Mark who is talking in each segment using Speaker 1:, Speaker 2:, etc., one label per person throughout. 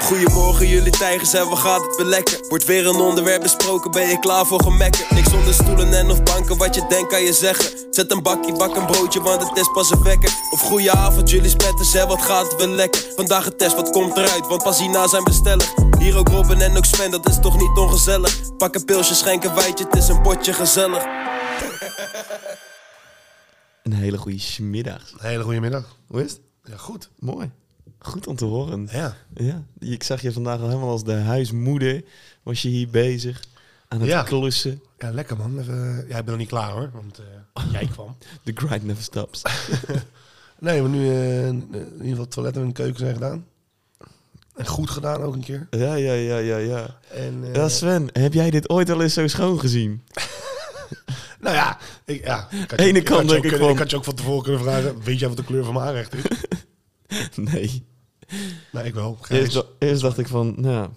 Speaker 1: Goedemorgen jullie tijgers en wat gaat het weer lekker? Wordt weer een onderwerp besproken, ben je klaar voor gemekken? Niks onder stoelen en of banken, wat je denkt kan je zeggen Zet een bakje, bak een broodje, want het is pas een wekker Of goeie avond jullie spetters en wat gaat het weer lekker? Vandaag een test, wat komt eruit, want pas hierna zijn bestellig Hier ook Robin en ook Sven, dat is toch niet ongezellig? Pak een pilsje, schenk een wijtje, het is een potje gezellig
Speaker 2: Een hele goede middags.
Speaker 3: Hele goede middag.
Speaker 2: Hoe is het?
Speaker 3: Ja, goed.
Speaker 2: Mooi. Goed om te horen.
Speaker 3: Ja.
Speaker 2: Ja, ik zag je vandaag al helemaal als de huismoeder. Was je hier bezig aan het
Speaker 3: Ja.
Speaker 2: klussen.
Speaker 3: Ja, lekker man. Even, eh, ja, ik ben nog niet klaar hoor, want eh, jij kwam.
Speaker 2: The grind never stops.
Speaker 3: Nee, maar nu eh, in ieder geval toiletten en keuken zijn gedaan. En goed gedaan ook een keer.
Speaker 2: ja, ja, ja, ja, ja.
Speaker 3: En, eh,
Speaker 2: Ja, Sven, heb jij dit ooit al eens zo schoon gezien?
Speaker 3: nou ja, ik, ja, ik had
Speaker 2: Ene
Speaker 3: ik had
Speaker 2: kant denk
Speaker 3: ook
Speaker 2: ik
Speaker 3: kunnen-
Speaker 2: van-
Speaker 3: Ik had je ook van tevoren kunnen vragen, weet jij wat de kleur van mijn aanrecht is?
Speaker 2: Nee.
Speaker 3: nee, ik wel.
Speaker 2: Eerst,
Speaker 3: Grijs.
Speaker 2: da- eerst dacht ik van, nou, ja,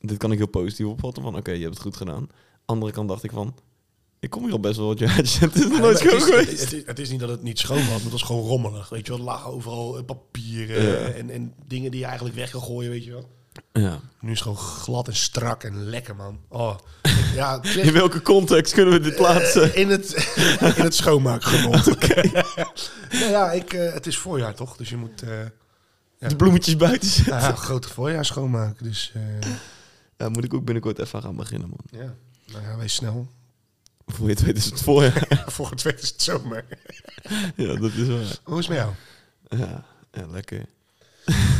Speaker 2: dit kan ik heel positief opvatten. Van, oké, je hebt het goed gedaan. Andere kant dacht ik van, ik kom hier al best wel wat jaar. Het is nog
Speaker 3: Nee, maar
Speaker 2: nooit
Speaker 3: het,
Speaker 2: schoon
Speaker 3: is, het, is,
Speaker 2: geweest.
Speaker 3: het, is, niet dat het niet schoon was, maar het was gewoon rommelig. Weet je wel, er lagen overal eh, papieren
Speaker 2: Ja.
Speaker 3: en, en dingen die je eigenlijk weg kan gooien, weet je wel.
Speaker 2: Ja.
Speaker 3: Nu is het gewoon glad en strak en lekker, man. Oh, ja, het is-
Speaker 2: In welke context kunnen we dit plaatsen?
Speaker 3: in het, in het schoonmaakgenot. nou ja, ik, eh, het is voorjaar toch? Dus je moet eh,
Speaker 2: De bloemetjes buiten zetten.
Speaker 3: nou ja, grote voorjaar schoonmaken. Dus eh,
Speaker 2: Ja, moet ik ook binnenkort even aan gaan beginnen, man.
Speaker 3: ja, nou ja, wees snel.
Speaker 2: Voor je het weet is het voorjaar.
Speaker 3: Volgend week is het zomer.
Speaker 2: ja, dat is waar.
Speaker 3: Hoe is het met jou?
Speaker 2: Ja, ja lekker.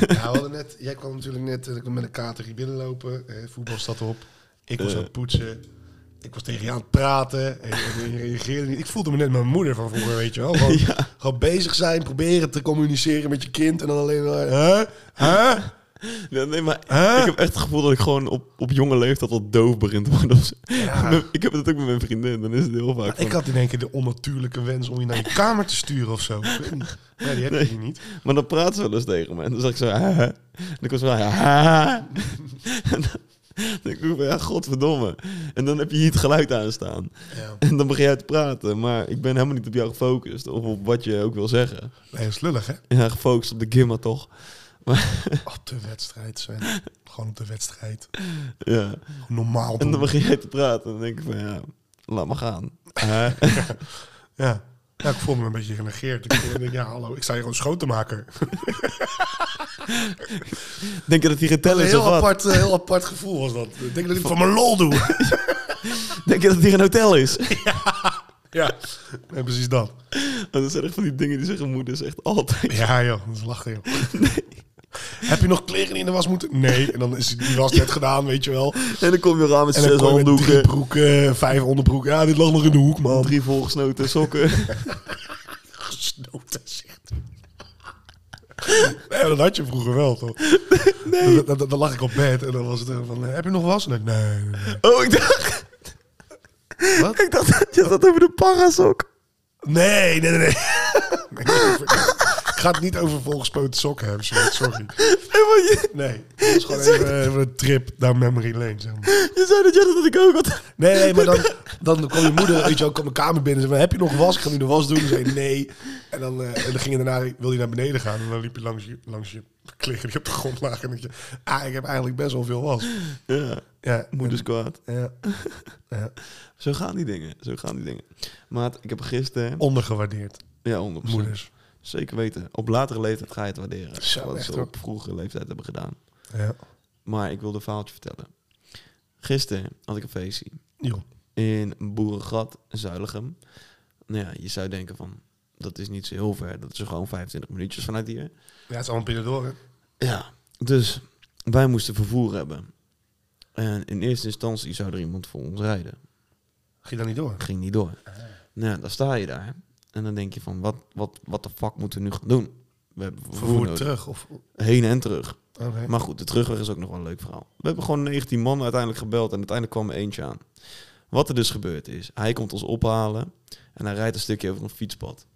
Speaker 3: Ja, we hadden net, jij kwam natuurlijk net eh, met een kater hier binnenlopen. Eh, voetbal staat op. Ik was aan het poetsen. Ik was tegen je aan het praten. En, en je reageerde niet. Ik voelde me net mijn moeder van vroeger, weet je wel. Gewoon, gewoon bezig zijn, proberen te communiceren met je kind. En dan alleen maar... Hè? Hè?
Speaker 2: Ja, nee, maar
Speaker 3: Hè?
Speaker 2: ik heb echt het gevoel dat ik gewoon op, op jonge leeftijd al doof begin te worden. of zo.
Speaker 3: Ja.
Speaker 2: Ik heb het ook met mijn vriendin, dan is het heel vaak.
Speaker 3: Maar ik
Speaker 2: van-
Speaker 3: had in één keer de onnatuurlijke wens om je naar je kamer te sturen of zo. Ik weet niet. Nee, die heb je
Speaker 2: Nee.
Speaker 3: hier niet.
Speaker 2: Maar dan praat ze wel eens tegen me. En dan zeg ik zo, "Ah, hè." En dan komt ze wel, ja, "Ah." En dan denk ik, van, ja, godverdomme. En dan heb je hier het geluid aanstaan.
Speaker 3: Ja.
Speaker 2: En dan begin jij te praten. Maar ik ben helemaal niet op jou gefocust. Of op wat je ook wil zeggen.
Speaker 3: Nee, dat is lullig, hè?
Speaker 2: Ja, gefocust op de gimma toch. Maar
Speaker 3: Op de wedstrijd zijn. Gewoon op de wedstrijd.
Speaker 2: ja.
Speaker 3: Gewoon Normaal
Speaker 2: En dan
Speaker 3: doen.
Speaker 2: begin jij te praten. En dan denk ik van, ja, laat maar gaan.
Speaker 3: Ja. ja, ik voel me een beetje genegeerd. Ik denk, ja, hallo, ik sta hier gewoon schoon te maken.
Speaker 2: Denk je dat hij geen teller
Speaker 3: Een
Speaker 2: is of
Speaker 3: heel
Speaker 2: wat?
Speaker 3: apart, eh, heel apart gevoel was dat. Ik denk dat ik het van mijn lol doe.
Speaker 2: Denk je dat hij geen hotel is? Want
Speaker 3: Ja, nee, precies dat.
Speaker 2: dat zijn echt van die dingen die zeggen moeder zegt altijd.
Speaker 3: Ja, joh, dat is lachen, joh. Heb je nog kleren die in de was moeten? Nee. En dan is die was net gedaan, weet je wel.
Speaker 2: En dan kom je eraan met
Speaker 3: En dan
Speaker 2: zes
Speaker 3: kom je met drie
Speaker 2: handdoeken.
Speaker 3: broeken, vijf onderbroeken. Ja, dit lag nog in de hoek, man.
Speaker 2: Drie volgesnoten sokken.
Speaker 3: gesnoten zegt. Nee, dat had je vroeger wel, toch? Dan, dan- dan lag ik op bed en dan was het eh, van, eh, heb je nog was? En ik, nee, nee, nee.
Speaker 2: Oh, ik dacht...
Speaker 3: Wat?
Speaker 2: Ik dacht dat je dat over de parasok.
Speaker 3: Nee, nee, nee. nee. Nee, ik- Ik ga het niet over volgespoten sokken hebben, sorry, sorry.
Speaker 2: En wat je,
Speaker 3: Nee, het is gewoon even, even een trip naar memory lane, zeg maar.
Speaker 2: je zei dat jij dat had ik ook had.
Speaker 3: Nee, nee, maar dan, dan kwam je moeder, weet je wel, kwam mijn kamer binnen en zei, heb je nog was? Ik ga nu de was doen. En zei nee. En dan, eh, en dan ging je daarna, wil je naar beneden gaan? En dan liep je langs je, langs je kleren die op de grond lagen. En dan dacht je, ah, ik heb eigenlijk best wel veel was.
Speaker 2: Ja,
Speaker 3: Ja,
Speaker 2: moeders kwaad.
Speaker 3: Ja. ja.
Speaker 2: Zo gaan die dingen, zo gaan die dingen. Maat, ik heb gisteren...
Speaker 3: Ondergewaardeerd.
Speaker 2: Ja, 100%.
Speaker 3: Moeders.
Speaker 2: Zeker weten. Op latere leeftijd ga je het waarderen.
Speaker 3: Zo,
Speaker 2: wat
Speaker 3: echt,
Speaker 2: ze
Speaker 3: hoor.
Speaker 2: op vroege leeftijd hebben gedaan.
Speaker 3: Ja.
Speaker 2: Maar ik wilde een verhaaltje vertellen. Gisteren had ik een feestje
Speaker 3: Joh.
Speaker 2: in Boerengat, Zuilichem. Nou ja, je zou denken van, dat is niet zo heel ver. Dat is gewoon 25 minuutjes vanuit hier.
Speaker 3: Ja, het is allemaal Pinador, hè?
Speaker 2: Ja, dus wij moesten vervoer hebben. En in eerste instantie zou er iemand voor ons rijden.
Speaker 3: Ging daar niet door.
Speaker 2: Ging niet door. Nou, ja, dan sta je daar. En dan denk je van, wat, wat, wat de fuck moeten we nu gaan doen? We hebben vervoer,
Speaker 3: Vervoerd
Speaker 2: nodig.
Speaker 3: terug. Of... oh,
Speaker 2: Heen en terug.
Speaker 3: Oké.
Speaker 2: Maar goed, de terugweg is ook nog wel een leuk verhaal. We hebben gewoon 19 man uiteindelijk gebeld en uiteindelijk kwam er eentje aan. Wat er dus gebeurd is, hij komt ons ophalen en hij rijdt een stukje over een fietspad.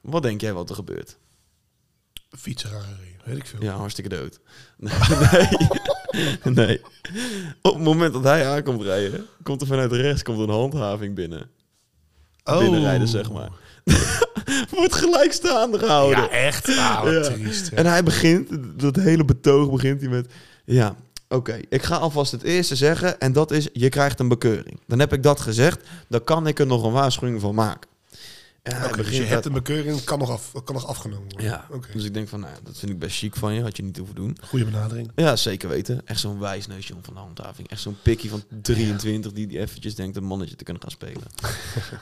Speaker 2: Wat denk jij wat er gebeurt?
Speaker 3: Fietsen aangereden, weet ik veel.
Speaker 2: Ja, hartstikke dood. Nee. nee. Op het moment dat hij aankomt rijden, komt er vanuit rechts komt een handhaving binnen.
Speaker 3: Oh.
Speaker 2: Binnenrijden, zeg maar. Wordt gelijk
Speaker 3: Oh,
Speaker 2: staande gehouden.
Speaker 3: Ja, echt? Ah, wat
Speaker 2: Ja.
Speaker 3: triest. hè.
Speaker 2: En hij begint, dat hele betoog begint hij met... Ja, oké. Ik ga alvast het eerste zeggen en dat is, je krijgt een bekeuring. Dan heb ik dat gezegd, dan kan ik er nog een waarschuwing van maken. Ja, hij
Speaker 3: Oké, dus
Speaker 2: begint
Speaker 3: je hebt
Speaker 2: uit-
Speaker 3: een bekeuring, kan nog, af, kan nog afgenomen worden.
Speaker 2: ja.
Speaker 3: Oké.
Speaker 2: dus ik denk van, nou, dat vind ik best chic van je, had je niet hoeven doen.
Speaker 3: Goede benadering.
Speaker 2: Ja, zeker weten. Echt zo'n wijsneusje om van de handhaving. Echt zo'n pikkie van 23 die, die eventjes denkt een mannetje te kunnen gaan spelen.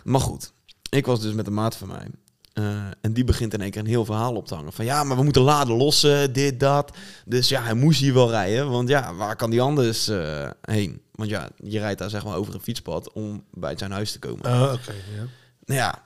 Speaker 2: maar goed, ik was dus met een maat van mij. Eh, en die begint in één keer een heel verhaal op te hangen. Van ja, maar we moeten laden lossen, dit, dat. Dus ja, hij moest hier wel rijden. Want ja, waar kan die anders eh, heen? Want ja, je rijdt daar zeg maar over een fietspad om bij zijn huis te komen.
Speaker 3: Ah, oké. ja.
Speaker 2: nou ja.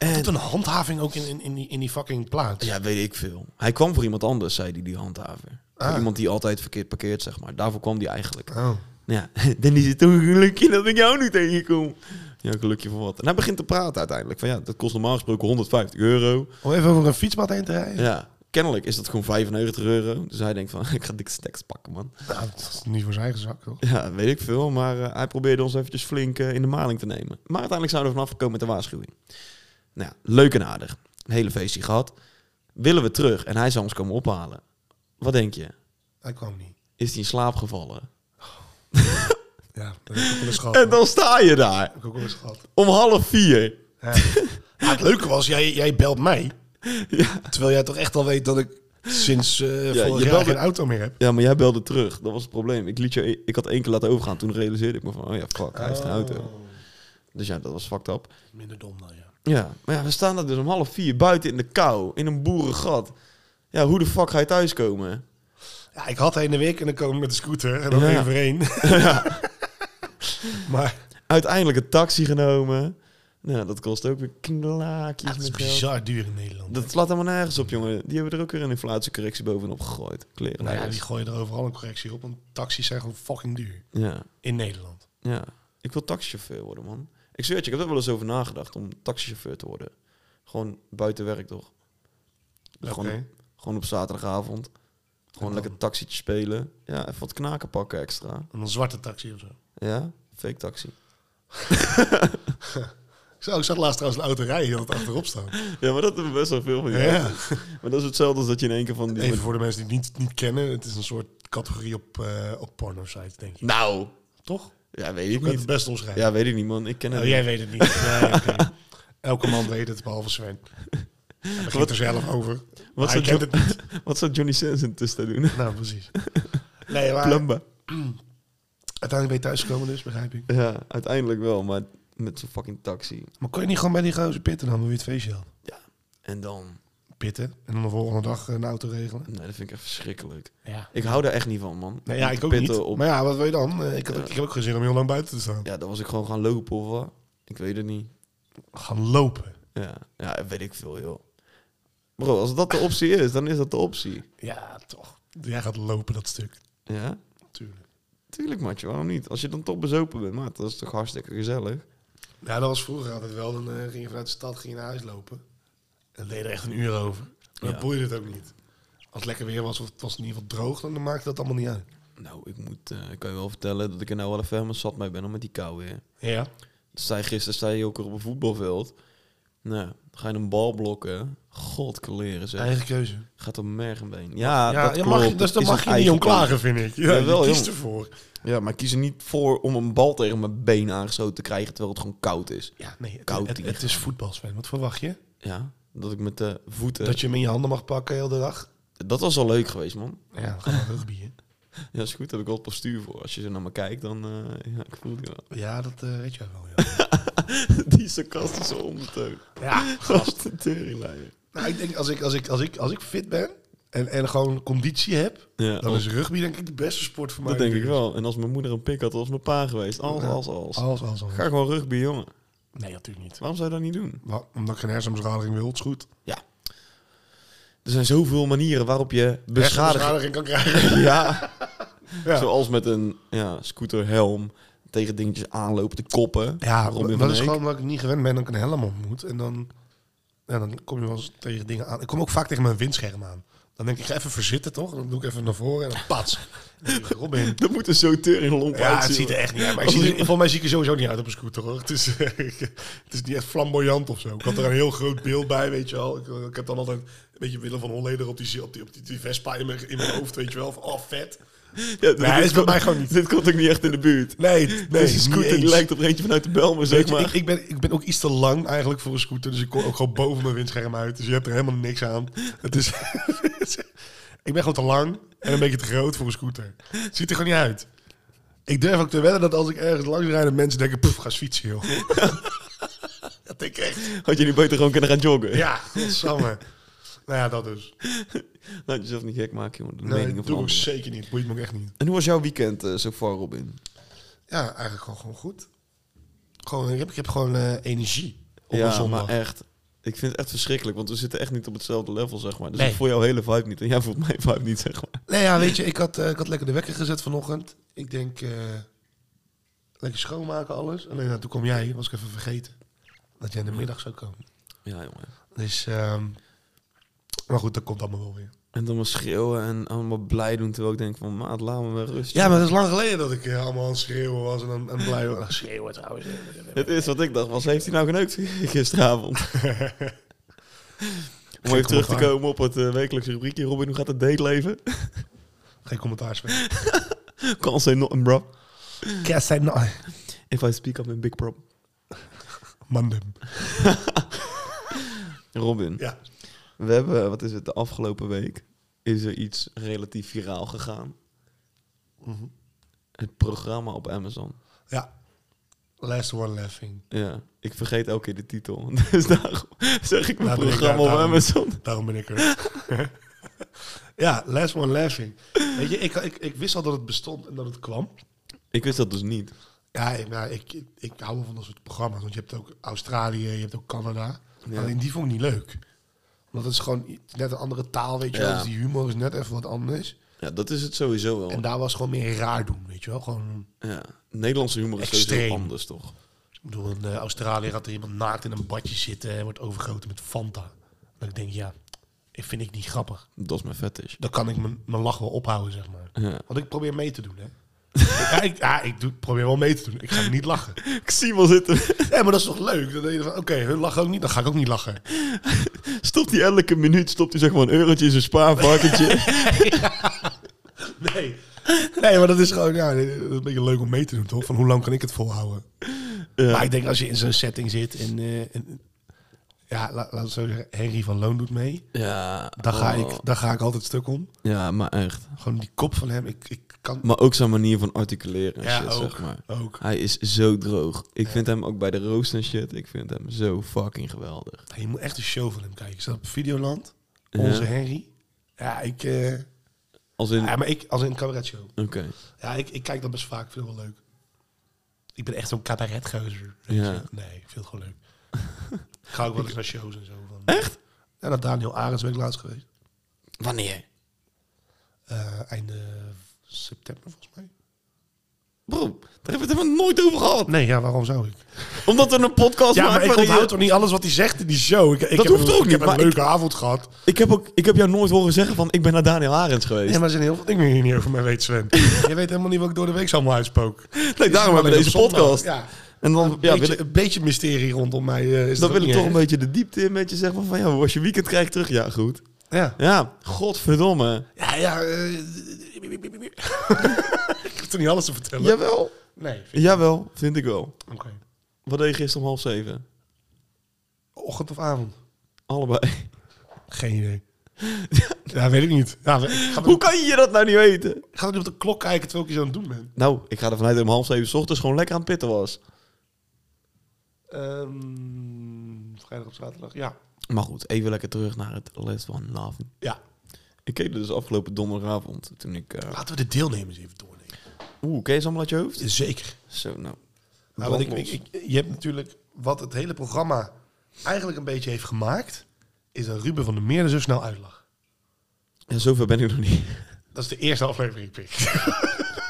Speaker 3: Tot
Speaker 2: En,
Speaker 3: een handhaving ook in, in, in, die, in die fucking plaats.
Speaker 2: ja, weet ik veel. Hij kwam voor iemand anders, zei hij, die handhaver. Voor
Speaker 3: Ah.
Speaker 2: Iemand die altijd verkeerd parkeert, zeg maar. Daarvoor kwam die eigenlijk.
Speaker 3: Oh.
Speaker 2: Ja, dan is het toch een gelukje dat ik jou nu tegenkom. Ja, gelukje van wat. En hij begint te praten uiteindelijk. Van ja, dat kost normaal gesproken 150 euro.
Speaker 3: Om even over een fietspad heen te rijden?
Speaker 2: Ja, kennelijk is dat gewoon 95 euro. Dus hij denkt van, ik ga dikke stacks pakken, man.
Speaker 3: Nou, dat is niet voor zijn eigen zak, toch?
Speaker 2: Ja, weet ik veel. Maar eh, hij probeerde ons eventjes flink eh, in de maling te nemen. Maar uiteindelijk zijn we er vanaf gekomen met de waarschuwing. Nou ja, leuk en aardig. Een hele feestje gehad. Willen we terug en hij zou ons komen ophalen. Wat denk je?
Speaker 3: Hij kwam niet.
Speaker 2: Is hij in slaap gevallen?
Speaker 3: Ja, dat heb ik ook wel eens gehad.
Speaker 2: En
Speaker 3: hoor.
Speaker 2: dan sta je daar.
Speaker 3: Dat heb ik ook wel eens gehad.
Speaker 2: Om half vier.
Speaker 3: Ja. Ja, het leuke was, jij, jij belt mij.
Speaker 2: Ja.
Speaker 3: Terwijl jij toch echt al weet dat ik sinds eh
Speaker 2: Ja, je
Speaker 3: vorig jaar
Speaker 2: belde-
Speaker 3: geen auto meer heb.
Speaker 2: Ja, maar jij belde terug. Dat was het probleem. Ik, liet je, e- ik had één keer laten overgaan. Toen realiseerde ik me van, oh ja, fuck, hij heeft een auto. Dus ja, dat was fucked up.
Speaker 3: Minder dom dan, ja.
Speaker 2: Ja, maar ja, we staan daar dus om half vier buiten in de kou. In een boerengat. Ja, hoe de fuck ga je thuiskomen?
Speaker 3: ja. Ik had heen en weer kunnen komen met de scooter. En dan
Speaker 2: Ja.
Speaker 3: één voor één. maar
Speaker 2: Uiteindelijk een taxi genomen. Nou, dat kost ook weer knalaakjes.
Speaker 3: het is
Speaker 2: met geld.
Speaker 3: bizar duur in Nederland.
Speaker 2: Dat slaat helemaal nergens op, jongen. Die hebben er ook weer een inflatiecorrectie bovenop gegooid. Kleren.
Speaker 3: nou ja, die gooien er overal een correctie op. Want taxis zijn gewoon fucking duur.
Speaker 2: ja,
Speaker 3: In Nederland.
Speaker 2: ja. Ik wil taxichauffeur worden, man. Ik zweer het je, ik heb er wel eens over nagedacht om taxichauffeur te worden. Gewoon buiten werk, toch? Dus
Speaker 3: Oké.
Speaker 2: gewoon, gewoon op zaterdagavond. Gewoon
Speaker 3: dan?
Speaker 2: lekker taxietje spelen. Ja, even wat knaken pakken extra.
Speaker 3: En een zwarte taxi of zo.
Speaker 2: Ja, fake taxi.
Speaker 3: Ik zag, ik zag laatst trouwens een auto rijden die had achterop staan.
Speaker 2: Ja, maar dat hebben we best wel veel van.
Speaker 3: Ja.
Speaker 2: Ja. Maar dat is hetzelfde als dat je in één keer van... Die
Speaker 3: Even voor de mensen die het niet, niet kennen. Het is een soort categorie op, eh op porno sites, denk ik.
Speaker 2: Nou,
Speaker 3: Toch?
Speaker 2: ja, weet ik
Speaker 3: Ik kan het
Speaker 2: niet.
Speaker 3: best omschrijven.
Speaker 2: Ja, weet ik niet, man. Ik ken het
Speaker 3: Nou,
Speaker 2: niet.
Speaker 3: jij weet het niet. Nee, oké. Elke man weet het, behalve Sven. Hij ging
Speaker 2: Wat-
Speaker 3: er zelf over.
Speaker 2: Wat
Speaker 3: Wat hij
Speaker 2: zou,
Speaker 3: kent
Speaker 2: Jo-
Speaker 3: het niet.
Speaker 2: wat zou Johnny Sins intussen doen?
Speaker 3: Nou, precies. Nee, maar
Speaker 2: Plumba.
Speaker 3: uiteindelijk ben je thuisgekomen dus, begrijp ik.
Speaker 2: Ja, uiteindelijk wel, maar met zo'n fucking taxi.
Speaker 3: Maar kon je niet gewoon bij die gozer pitten dan, hoe je het feestje had?
Speaker 2: Ja, en dan...
Speaker 3: Pitten en dan de volgende dag eh, een auto regelen?
Speaker 2: Nee, dat vind ik echt verschrikkelijk.
Speaker 3: Ja.
Speaker 2: Ik hou daar echt niet van, man.
Speaker 3: Nee, ja,
Speaker 2: Om te
Speaker 3: ik ook niet.
Speaker 2: pitten op-
Speaker 3: Maar ja, wat wil je dan? Eh, Ik, had, ook- ik heb ook geen zin om heel lang buiten te staan.
Speaker 2: Ja, dan was ik gewoon gaan lopen of wat. Ik weet het niet.
Speaker 3: Gaan lopen.
Speaker 2: Ja, ja weet ik veel, joh. Bro, als dat de optie is, dan is dat de optie.
Speaker 3: Ja, toch. Jij gaat lopen dat stuk.
Speaker 2: Ja?
Speaker 3: Tuurlijk.
Speaker 2: Tuurlijk, maatje, waarom niet? Als je dan toch bezopen bent, maat, dat is toch hartstikke gezellig?
Speaker 3: Ja, dat was vroeger altijd wel. Dan eh, ging je vanuit de stad ging je naar huis lopen. En dan deed je er echt een uur over. Maar
Speaker 2: Ja.
Speaker 3: dat boeide het ook niet. Als het lekker weer was of het was in ieder geval droog, dan maakte dat allemaal niet uit.
Speaker 2: Nou, ik moet, eh, ik kan je wel vertellen dat ik er nou wel even helemaal zat mee ben om met die kou weer.
Speaker 3: Ja.
Speaker 2: Dus sta je- gisteren sta je ook weer op een voetbalveld. Nou, dan ga je een bal blokken. God, kleren zeg.
Speaker 3: Eigen keuze.
Speaker 2: Gaat op merg en been. Ja,
Speaker 3: Ja,
Speaker 2: dat
Speaker 3: je
Speaker 2: klopt.
Speaker 3: mag, dus daar
Speaker 2: Is een
Speaker 3: mag je niet
Speaker 2: eigen
Speaker 3: om klagen, vind ik. Ja,
Speaker 2: Jawel,
Speaker 3: je kiest
Speaker 2: jong.
Speaker 3: ervoor.
Speaker 2: Ja, maar ik kies er niet voor om een bal tegen mijn been aangeschoten te krijgen terwijl het gewoon koud is.
Speaker 3: Ja, nee, het,
Speaker 2: Koud
Speaker 3: het,
Speaker 2: hier.
Speaker 3: het is voetbal, Sven. Wat verwacht je?
Speaker 2: Ja, dat ik met de voeten...
Speaker 3: Dat je hem in je handen mag pakken heel de dag?
Speaker 2: Dat was al leuk geweest, man.
Speaker 3: Ja, dan gaan we rugby, hè?
Speaker 2: Ja, is goed. Daar heb ik wel het postuur voor. Als je zo naar me kijkt, dan... eh, ja, ik voel die wel.
Speaker 3: Ja, dat eh, weet jij wel, ja.
Speaker 2: die sarcastische ondertoon.
Speaker 3: ja.
Speaker 2: Gast. de teringleier.
Speaker 3: Nou, ik denk, als ik, als ik, als ik, als ik fit ben en, en gewoon conditie heb,
Speaker 2: Ja,
Speaker 3: dan
Speaker 2: oh,
Speaker 3: is rugby denk ik de beste sport voor mij.
Speaker 2: dat denk ik wel. En als mijn moeder een pik had, was mijn pa geweest. Als, als, als.
Speaker 3: Als, als, als.
Speaker 2: Ga gewoon rugby, jongen.
Speaker 3: Nee, natuurlijk niet.
Speaker 2: Waarom zou je dat niet doen?
Speaker 3: Nou, omdat ik geen hersenbeschadiging wil, het is goed.
Speaker 2: Ja. Er zijn zoveel manieren waarop je beschadigd...
Speaker 3: Hersenbeschadiging kan krijgen.
Speaker 2: Ja.
Speaker 3: Ja,
Speaker 2: Zoals met een ja, scooterhelm tegen dingetjes aanlopen te koppen.
Speaker 3: ja
Speaker 2: Robin
Speaker 3: maar
Speaker 2: van
Speaker 3: dat is
Speaker 2: Eek.
Speaker 3: gewoon omdat ik niet gewend ben dat ik een helm op moet. En dan, ja, dan kom je wel eens tegen dingen aan. Ik kom ook vaak tegen mijn windscherm aan. Dan denk ik, ik, ga even verzitten toch? Dan doe ik even naar voren en dan pats. Dan denk ik, Robin.
Speaker 2: Dat moet een zo tering lomp
Speaker 3: Ja, het
Speaker 2: uitzien.
Speaker 3: ziet er echt niet uit. Maar ik zie, er- volgens mij zie ik er sowieso niet uit op een scooter hoor. Het is, eh, het is niet echt flamboyant of zo. Ik had er een heel groot beeld bij, weet je wel. Ik, eh, ik heb dan altijd een beetje Willem van Holleder op die, op die, op die, die Vespa in mijn, in mijn hoofd, weet je wel. Van, oh, vet.
Speaker 2: Ja, dit,
Speaker 3: Nee, hij is bij
Speaker 2: komt-
Speaker 3: mij gewoon niet.
Speaker 2: dit komt ook niet echt in de buurt.
Speaker 3: Nee, nee.
Speaker 2: Deze
Speaker 3: niet
Speaker 2: scooter die
Speaker 3: eens.
Speaker 2: lijkt op eentje vanuit de Belmer,
Speaker 3: Weet
Speaker 2: zeg
Speaker 3: je, ik,
Speaker 2: maar.
Speaker 3: ik, ben, ik ben ook iets te lang eigenlijk voor een scooter. Dus ik kom ook gewoon boven mijn windscherm uit. Dus je hebt er helemaal niks aan. Het is, ik ben gewoon te lang en een beetje te groot voor een scooter. Het ziet er gewoon niet uit. Ik durf ook te wedden dat als ik ergens langs rijd... dat mensen denken, poef, ga eens fietsen, joh. dat denk ik echt.
Speaker 2: Had je niet beter gewoon kunnen gaan joggen?
Speaker 3: Ja, godsamme. nou ja, dat dus.
Speaker 2: Laat Nou, jezelf niet gek maken, jongen. De
Speaker 3: Nee,
Speaker 2: meningen
Speaker 3: dat
Speaker 2: van
Speaker 3: doe ik ook
Speaker 2: anderen.
Speaker 3: zeker niet. Boeit me ook echt niet.
Speaker 2: En hoe was jouw weekend eh, zo far, Robin?
Speaker 3: Ja, eigenlijk gewoon, gewoon goed. Gewoon, ik, heb, ik heb gewoon eh, energie op een
Speaker 2: ja,
Speaker 3: zondag.
Speaker 2: maar echt. Ik vind het echt verschrikkelijk, want we zitten echt niet op hetzelfde level, zeg maar. Dus
Speaker 3: Nee.
Speaker 2: ik voel jouw hele vibe niet en jij voelt mijn vibe niet, zeg maar.
Speaker 3: Nee, ja, weet je, ik had, eh, ik had lekker de wekker gezet vanochtend. Ik denk, eh, lekker schoonmaken, alles. Alleen nou, toen kwam jij, was ik even vergeten. Dat jij in de middag zou komen.
Speaker 2: Ja, jongen.
Speaker 3: Dus, ehm, maar goed, dat komt allemaal wel weer.
Speaker 2: En dan maar schreeuwen en allemaal blij doen, terwijl ik denk van, maat, laat me wel rust.
Speaker 3: Ja, maar dat is lang geleden dat ik eh, allemaal aan het schreeuwen was en, aan- en blij was. Schreeuwen trouwens.
Speaker 2: Het is wat ik dacht, was heeft hij nou geneukt gisteravond? Om
Speaker 3: Geen
Speaker 2: even terug te
Speaker 3: commentaar.
Speaker 2: komen op het eh, wekelijkse rubriekje. Robin, hoe gaat het dateleven?
Speaker 3: Geen commentaar, Sven.
Speaker 2: Can't say nothing, bro.
Speaker 3: Kerst zijn nou...
Speaker 2: If I speak up in big problem.
Speaker 3: Mandem.
Speaker 2: Robin,
Speaker 3: Ja.
Speaker 2: we hebben, eh, wat is het, de afgelopen week is er iets relatief viraal gegaan.
Speaker 3: Mhm.
Speaker 2: Het programma op Amazon.
Speaker 3: Ja. Last one laughing.
Speaker 2: Ja, ik vergeet elke keer de titel. Dus daarom zeg ik mijn
Speaker 3: Laat ik
Speaker 2: programma
Speaker 3: daar-
Speaker 2: op
Speaker 3: daarom-
Speaker 2: Amazon.
Speaker 3: Daarom ben ik er. ja, last one laughing. Weet je, ik, ik, ik wist al dat het bestond en dat het kwam.
Speaker 2: Ik wist dat dus niet.
Speaker 3: Ja, ik, nou, ik, ik, ik hou wel van dat soort programma's. Want je hebt ook Australië, je hebt ook Canada.
Speaker 2: Ja.
Speaker 3: Alleen die vond ik niet leuk. Want dat is gewoon i- net een andere taal, weet je
Speaker 2: Ja.
Speaker 3: wel. Dus die humor is net even wat anders.
Speaker 2: Ja, dat is het sowieso wel.
Speaker 3: En daar was gewoon meer raar doen, weet je wel. Gewoon,
Speaker 2: Ja, Nederlandse humor is sowieso
Speaker 3: Extreem.
Speaker 2: anders, toch?
Speaker 3: ik bedoel, in eh, Australië gaat er iemand naakt in een badje zitten... en wordt overgoten met Fanta. Dat ik denk, ja, ik vind ik niet grappig.
Speaker 2: Dat is mijn fetish.
Speaker 3: Dan kan ik mijn, mijn lach wel ophouden, zeg maar.
Speaker 2: Ja.
Speaker 3: Want ik probeer mee te doen, hè. ja, ik, ja, ik doe, probeer wel mee te doen. Ik ga niet lachen.
Speaker 2: Ik zie hem al zitten.
Speaker 3: Ja, maar dat is toch leuk? Dan denk je van, oké, hun lachen ook niet. Dan ga ik ook niet lachen.
Speaker 2: Stopt hij elke minuut, stopt hij zeg maar een eurotje in zijn spaarvarkentje.
Speaker 3: Nee. Nee, maar dat is gewoon ja, dat is een beetje leuk om mee te doen, toch? Van hoe lang kan ik het volhouden? Maar ik denk als je in zo'n setting zit en... eh, en- ja, la- laten we zo zeggen, Henry van Loon doet mee.
Speaker 2: ja,
Speaker 3: Daar ga,
Speaker 2: oh.
Speaker 3: ik, daar ga ik altijd stuk om.
Speaker 2: Ja, maar echt.
Speaker 3: Gewoon die kop van hem. Ik, ik kan...
Speaker 2: Maar ook zijn manier van articuleren en
Speaker 3: Ja,
Speaker 2: shit,
Speaker 3: ook,
Speaker 2: zeg maar.
Speaker 3: ook.
Speaker 2: Hij is zo droog. Ik vind hem ook bij de roast en shit, ik vind hem zo fucking geweldig.
Speaker 3: Je moet echt een show van hem kijken. Ik zat op Videoland. Onze
Speaker 2: Ja.
Speaker 3: Henry. Ja, ik... eh,
Speaker 2: Als in...
Speaker 3: ja, maar ik... Als in een cabaret show.
Speaker 2: Oké.
Speaker 3: Ja, ik, ik kijk dat best vaak. Ik vind het wel leuk. Ik ben echt zo'n cabaretgozer. weet
Speaker 2: Ja.
Speaker 3: je. Nee, ik vind het gewoon leuk. ik ga ook wel eens naar shows en zo. Van. Echt? Ja, naar Daniel Arends ben ik laatst geweest.
Speaker 2: Wanneer?
Speaker 3: Eh, einde september volgens mij.
Speaker 2: Bro, daar hebben we het helemaal nooit over gehad.
Speaker 3: Nee, ja, waarom zou ik?
Speaker 2: Omdat we een podcast
Speaker 3: Ja, maar
Speaker 2: maken
Speaker 3: ik
Speaker 2: waarin je-
Speaker 3: onthoud toch niet alles wat hij zegt in die show? Ik, ik
Speaker 2: Dat
Speaker 3: heb
Speaker 2: hoeft
Speaker 3: een,
Speaker 2: ook
Speaker 3: ik heb
Speaker 2: niet,
Speaker 3: een
Speaker 2: maar
Speaker 3: leuke avond gehad.
Speaker 2: Ik heb, ook, ik heb jou nooit horen zeggen van, ik ben naar Daniel Arends geweest.
Speaker 3: Ja, maar er zijn heel veel dingen die je niet over mij weet, Sven. je weet helemaal niet wat ik door de week allemaal uitspook.
Speaker 2: Nee, daarom hebben we deze podcast.
Speaker 3: Ja.
Speaker 2: En dan ja, wil
Speaker 3: beetje,
Speaker 2: ik,
Speaker 3: Een beetje mysterie rondom mij eh, is
Speaker 2: dan
Speaker 3: dat
Speaker 2: wil ik toch een
Speaker 3: beetje...
Speaker 2: beetje de diepte in met je zeggen van, ja, hoe was je weekend, krijg ik terug. Ja, goed.
Speaker 3: Ja.
Speaker 2: Ja, godverdomme.
Speaker 3: Ja, ja. eh, ik heb toch niet alles te vertellen?
Speaker 2: Jawel.
Speaker 3: Nee.
Speaker 2: Jawel, vind ik wel.
Speaker 3: Oké.
Speaker 2: Wat deed je gisteren om half zeven?
Speaker 3: Ochtend of avond?
Speaker 2: Allebei.
Speaker 3: Geen idee. ja, weet ik niet. Ja, we- ik ga,
Speaker 2: Hoe
Speaker 3: ik
Speaker 2: kan je dat nou niet weten?
Speaker 3: ga nu op de klok kijken terwijl ik iets aan het doen ben.
Speaker 2: Nou, ik ga ervan uit dat om half zeven 's ochtends gewoon lekker aan het pitten was.
Speaker 3: Ehm, vrijdag op zaterdag, ja.
Speaker 2: Maar goed, even lekker terug naar het les van Love.
Speaker 3: Ja,
Speaker 2: Ik keek dus afgelopen donderdagavond toen ik... eh,
Speaker 3: laten we de deelnemers even doornemen.
Speaker 2: Oeh, ken je ze allemaal uit je hoofd?
Speaker 3: Zeker.
Speaker 2: Zo, nou.
Speaker 3: Nou, want ik,
Speaker 2: brandlos.
Speaker 3: ik- ik- je hebt natuurlijk wat het hele programma eigenlijk een beetje heeft gemaakt, is dat Ruben van der Meer er zo snel uitlag.
Speaker 2: Ja, zover ben ik nog niet.
Speaker 3: Dat is de eerste aflevering, pik.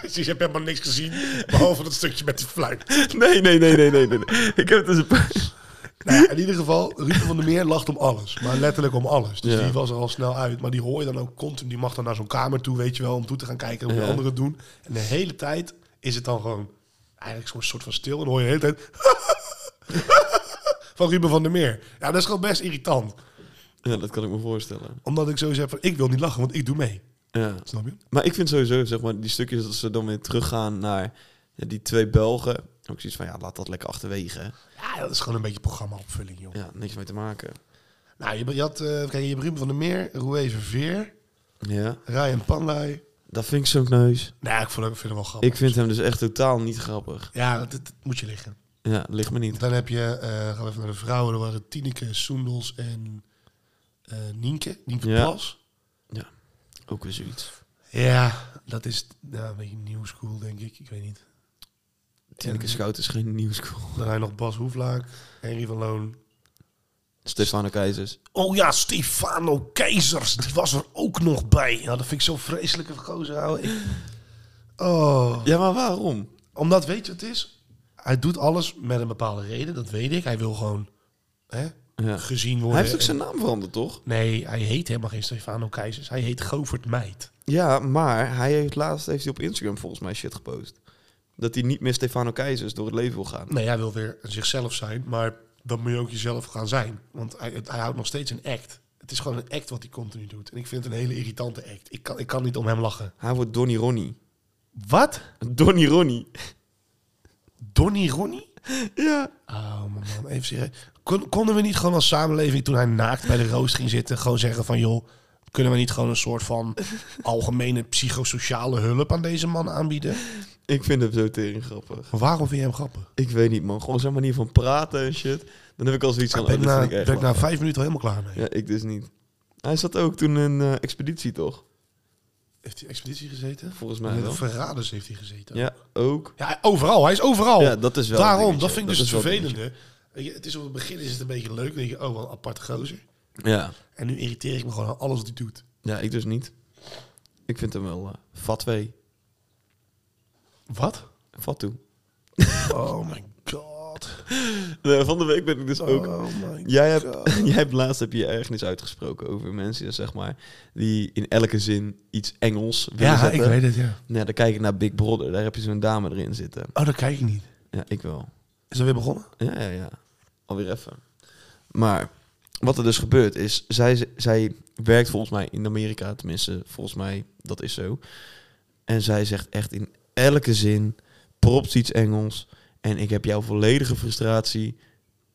Speaker 3: dus je hebt helemaal niks gezien, behalve dat stukje met die fluit.
Speaker 2: Nee, nee, nee, nee, nee. nee. Ik heb het dus een paar...
Speaker 3: Nou ja, in ieder geval, Ruben van der Meer lacht om alles. Maar letterlijk om alles. Dus
Speaker 2: Ja.
Speaker 3: die was er al snel uit. Maar die hoor je dan ook continu. Die mag dan naar zo'n kamer toe, weet je wel, om toe te gaan kijken hoe de
Speaker 2: Ja.
Speaker 3: anderen het doen. En de hele tijd is het dan gewoon eigenlijk zo'n soort van stil. En dan hoor je de hele tijd van Ruben van der Meer. Ja, dat is gewoon best irritant.
Speaker 2: Ja, dat kan ik me voorstellen.
Speaker 3: Omdat ik sowieso heb van, ik wil niet lachen, want ik doe mee.
Speaker 2: Ja.
Speaker 3: Snap je?
Speaker 2: Maar ik vind sowieso, zeg maar, die stukjes dat ze dan weer teruggaan naar ja, die twee Belgen. Ook zoiets van, ja, laat dat lekker achterwege. hè.
Speaker 3: Ja, dat is gewoon een beetje programma-opvulling, joh.
Speaker 2: Ja, niks mee te maken.
Speaker 3: Nou, je, je had, eh, kijk, je hebt Ruben van der Meer, Roué Verveer,
Speaker 2: Ja,
Speaker 3: Ryan Pandey.
Speaker 2: dat vind ik zo'n kneus.
Speaker 3: Nou, ik vond, ik vind hem wel grappig.
Speaker 2: Ik vind hem dus echt totaal niet grappig.
Speaker 3: Ja, dat, dat moet je liggen.
Speaker 2: Ja, ligt me niet.
Speaker 3: Dan heb je, eh, gaan we even naar de vrouwen, er waren Tineke, Soendels en eh, Nienke, Nienke
Speaker 2: Ja.
Speaker 3: Plas.
Speaker 2: Ook weer zoiets.
Speaker 3: Ja, dat is nou, een beetje new school, denk ik. Ik weet niet.
Speaker 2: Tineke Schout is geen nieuwschool.
Speaker 3: Dan heb je nog Bas Hoeflaak, Henry van Loon.
Speaker 2: Stefano Keizers.
Speaker 3: Oh ja, Stefano Keizers, die was er ook nog bij. Ja, dat vind ik zo'n vreselijke gozer, ouwe. Ik- Oh.
Speaker 2: Ja, maar waarom?
Speaker 3: Omdat, weet je wat het is? Hij doet alles met een bepaalde reden, dat weet ik. Hij wil gewoon hè,
Speaker 2: Ja.
Speaker 3: gezien worden.
Speaker 2: Hij heeft ook
Speaker 3: en-
Speaker 2: zijn naam veranderd, toch?
Speaker 3: Nee, hij heet helemaal geen Stefano Keizers. Hij heet Govert Meid.
Speaker 2: Ja, maar hij heeft laatst heeft hij op Instagram volgens mij shit gepost. Dat hij niet meer Stefano Keizers door het leven wil gaan.
Speaker 3: Nee, hij wil weer zichzelf zijn, maar dan moet je ook jezelf gaan zijn. Want hij, het- hij houdt nog steeds een act. Het is gewoon een act wat hij continu doet. En ik vind het een hele irritante act. Ik kan, ik kan niet om hem lachen.
Speaker 2: Hij wordt Donny Ronnie.
Speaker 3: Wat?
Speaker 2: Donny Ronnie.
Speaker 3: Donnie Ronnie?
Speaker 2: Ja.
Speaker 3: Oh man, man, even serieus. Kon- konden we niet gewoon als samenleving, toen hij naakt bij de roost ging zitten, gewoon zeggen van joh, kunnen we niet gewoon een soort van algemene psychosociale hulp aan deze man aanbieden?
Speaker 2: Ik vind hem zo tering grappig.
Speaker 3: Maar waarom vind je hem grappig?
Speaker 2: Ik weet niet, man. Gewoon zijn manier van praten en shit. Dan heb ik al zoiets van...
Speaker 3: Ik
Speaker 2: Oh,
Speaker 3: ben,
Speaker 2: dit
Speaker 3: ik na,
Speaker 2: vind ik echt
Speaker 3: ben ik na
Speaker 2: lachen.
Speaker 3: vijf minuten al helemaal klaar mee.
Speaker 2: Ja, ik dus niet. Hij zat ook toen in eh, expeditie, toch?
Speaker 3: Heeft hij expeditie gezeten?
Speaker 2: Volgens mij
Speaker 3: Met de
Speaker 2: wel.
Speaker 3: verraders heeft hij gezeten.
Speaker 2: Ja, ook.
Speaker 3: Ja, overal. Hij is overal.
Speaker 2: Ja, dat is wel een
Speaker 3: Daarom,
Speaker 2: dingetje.
Speaker 3: dat vind ik
Speaker 2: Dat
Speaker 3: dus
Speaker 2: is wel
Speaker 3: het
Speaker 2: een
Speaker 3: vervelende. Weet je, Het is op het begin is het een beetje leuk. Dan denk je, oh, wel een apart gozer.
Speaker 2: Ja.
Speaker 3: En nu irriteer ik me gewoon aan alles wat hij doet.
Speaker 2: Ja, ik dus niet. Ik vind hem wel eh fatwee.
Speaker 3: Wat?
Speaker 2: Fatu.
Speaker 3: Oh my god.
Speaker 2: Nee, van de week ben ik dus ook...
Speaker 3: Oh my
Speaker 2: Jij hebt,
Speaker 3: god.
Speaker 2: jij hebt laatst heb je je ergernis uitgesproken over mensen, zeg maar, die in elke zin iets Engels willen
Speaker 3: Ja,
Speaker 2: zetten.
Speaker 3: ik weet het, ja.
Speaker 2: Nou, dan kijk ik naar Big Brother, daar heb je zo'n dame erin zitten.
Speaker 3: Oh, dat kijk ik niet.
Speaker 2: Ja, ik wel.
Speaker 3: Is dat weer begonnen?
Speaker 2: Ja, ja, ja. Alweer even. Maar wat er dus gebeurt is, zij, zij werkt volgens mij in Amerika, tenminste, volgens mij, dat is zo. En zij zegt echt in elke zin, propt iets Engels. En ik heb jouw volledige frustratie,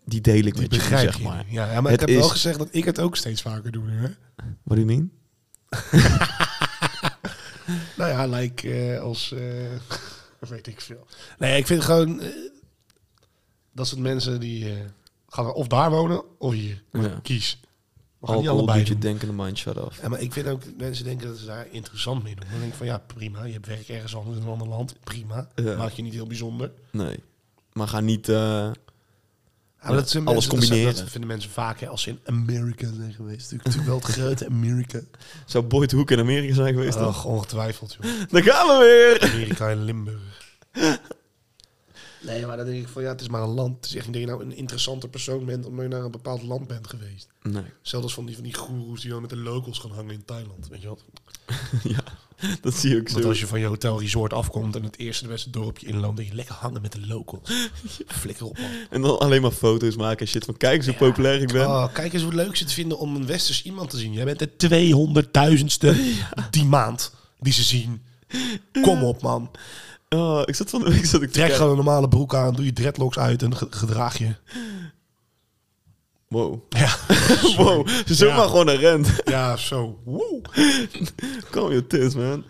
Speaker 2: die deel ik
Speaker 3: Die
Speaker 2: met je,
Speaker 3: begrijp
Speaker 2: zeg
Speaker 3: je.
Speaker 2: maar.
Speaker 3: Ja, ja, maar
Speaker 2: Het
Speaker 3: ik heb wel
Speaker 2: is-
Speaker 3: gezegd dat ik het ook steeds vaker doe nu, hè?
Speaker 2: Wat do you mean?
Speaker 3: Nou ja, like eh, als... eh, weet ik veel. Nee, ik vind gewoon... eh, dat soort mensen die eh, gaan of daar wonen of hier.
Speaker 2: Ja.
Speaker 3: Kies. We gaan
Speaker 2: Alcohol
Speaker 3: niet allebei
Speaker 2: doet je
Speaker 3: doen.
Speaker 2: denkende mind shut off.
Speaker 3: Ja, maar ik vind ook dat mensen denken dat ze daar interessant mee doen. Dan denk ik van ja, prima. Je hebt werk ergens anders in een ander land. Prima.
Speaker 2: Ja.
Speaker 3: Maak je niet heel bijzonder.
Speaker 2: Nee. Maar ga niet... eh,
Speaker 3: Ja, maar dat
Speaker 2: Alles
Speaker 3: zijn mensen, dat zijn-
Speaker 2: combineren.
Speaker 3: Dat vinden mensen vaak hè, als ze in Amerika zijn geweest. Natuurlijk, natuurlijk wel het grote Amerika.
Speaker 2: zou Boyd Hoek in Amerika zijn geweest? dan?
Speaker 3: Ach, ongetwijfeld, joh.
Speaker 2: Daar gaan we weer!
Speaker 3: Amerika en Limburg. Nee, maar dan denk ik van ja, het is maar een land. Het is echt niet dat je nou een interessante persoon bent omdat je naar een bepaald land bent geweest.
Speaker 2: Nee.
Speaker 3: Zelfs als van die, van die goeroes die dan met de locals gaan hangen in Thailand. Weet je wat?
Speaker 2: ja, dat zie ik
Speaker 3: Want
Speaker 2: zo.
Speaker 3: als je van je hotel resort afkomt en het eerste de beste dorpje inloopt, dat je lekker hangen met de locals. Flikker op, man.
Speaker 2: En dan alleen maar foto's maken en shit van kijk eens hoe populair ik ben.
Speaker 3: Oh, kijk eens hoe leuk ze het vinden om een westers iemand te zien. Jij bent de 200.000ste die maand die ze zien. Kom op, man.
Speaker 2: Oh, ik zat van de week zat ik te
Speaker 3: Trek
Speaker 2: kijken.
Speaker 3: gewoon een normale broek aan, doe je dreadlocks uit en ge- gedraag je.
Speaker 2: Wow.
Speaker 3: Ja,
Speaker 2: wow. Zomaar
Speaker 3: Ja.
Speaker 2: gewoon een rent.
Speaker 3: ja zo. Woe.
Speaker 2: Kom je tits, man.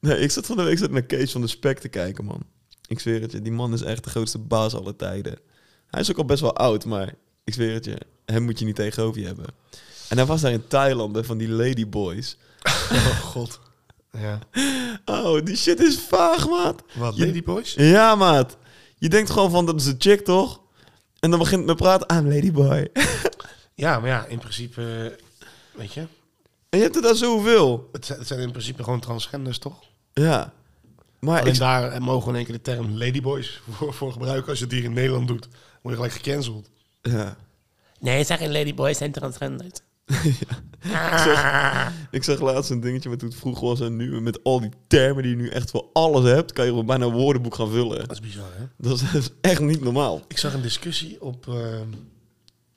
Speaker 2: Nee, ik zat van de week zat naar Kees van de Spek te kijken, man. Ik zweer het je, die man is echt de grootste baas aller tijden. Hij is ook al best wel oud, maar ik zweer het je, hem moet je niet tegenover je hebben. En hij was daar in Thailand bij van die ladyboys.
Speaker 3: Oh, god. Ja.
Speaker 2: Oh, die shit is vaag, maat.
Speaker 3: Wat,
Speaker 2: Je-
Speaker 3: ladyboys?
Speaker 2: Ja, maat. Je denkt gewoon van, dat is een chick, toch? En dan begint het met praten, I'm ladyboy.
Speaker 3: Ja, maar ja, in principe, eh, weet je,
Speaker 2: en je hebt er daar zoveel.
Speaker 3: het zijn, het zijn in principe gewoon transgenders, toch?
Speaker 2: Ja. Maar
Speaker 3: Alleen
Speaker 2: ik,
Speaker 3: daar eh, mogen we in één keer de term ladyboys voor, voor gebruiken. Als je het hier in Nederland doet, word je gelijk gecanceld.
Speaker 2: ja.
Speaker 4: Nee, het zijn geen ladyboys, zijn transgenders.
Speaker 2: ik zag laatst een dingetje met hoe het vroeg was en nu. en Met al die termen die je nu echt voor alles hebt, kan je wel bijna een woordenboek gaan vullen.
Speaker 3: Dat is bizar, hè?
Speaker 2: Dat is echt niet normaal.
Speaker 3: Ik zag een discussie op, eh,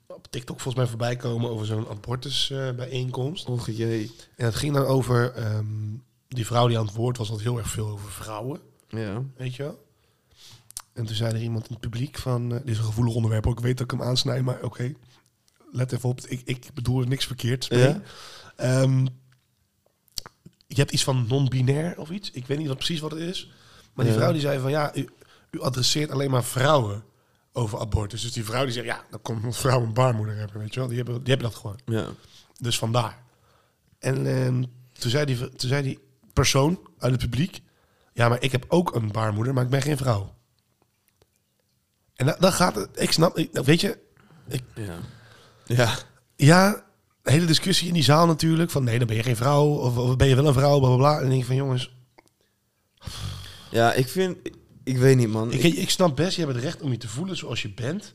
Speaker 3: op TikTok volgens mij voorbij komen over zo'n abortusbijeenkomst.
Speaker 2: Och jee.
Speaker 3: en het ging dan over ehm, die vrouw die aan het woord was, had heel erg veel over vrouwen.
Speaker 2: Ja.
Speaker 3: Weet je wel? En toen zei er iemand in het publiek van... eh, dit is een gevoelig onderwerp, ook ik weet dat ik hem aansnijd, maar oké. let even op, ik, ik bedoel er niks verkeerd. mee.
Speaker 2: Ja?
Speaker 3: Ehm, je hebt iets van non-binair of iets. Ik weet niet wat, precies wat het is. Maar die
Speaker 2: Ja.
Speaker 3: vrouw die zei van... ja, u, u adresseert alleen maar vrouwen over abortus. Dus die vrouw die zegt... ja, dan komt een vrouw een baarmoeder hebben, weet je wel. Die hebben, die hebben dat gewoon.
Speaker 2: Ja.
Speaker 3: Dus vandaar. En ehm, toen, zei die, toen zei die persoon uit het publiek... Ja, maar ik heb ook een baarmoeder, maar ik ben geen vrouw. En da- dan gaat het... Ik snap... ik- weet je... Ik,
Speaker 2: Ja. Ja.
Speaker 3: ja, de hele discussie in die zaal natuurlijk. Van nee, dan ben je geen vrouw. Of, of ben je wel een vrouw, bla bla bla. En dan denk ik van jongens...
Speaker 2: Ja, ik vind... Ik, ik weet niet, man.
Speaker 3: Ik,
Speaker 2: Ik-
Speaker 3: ik snap best, je hebt het recht om je te voelen zoals je bent.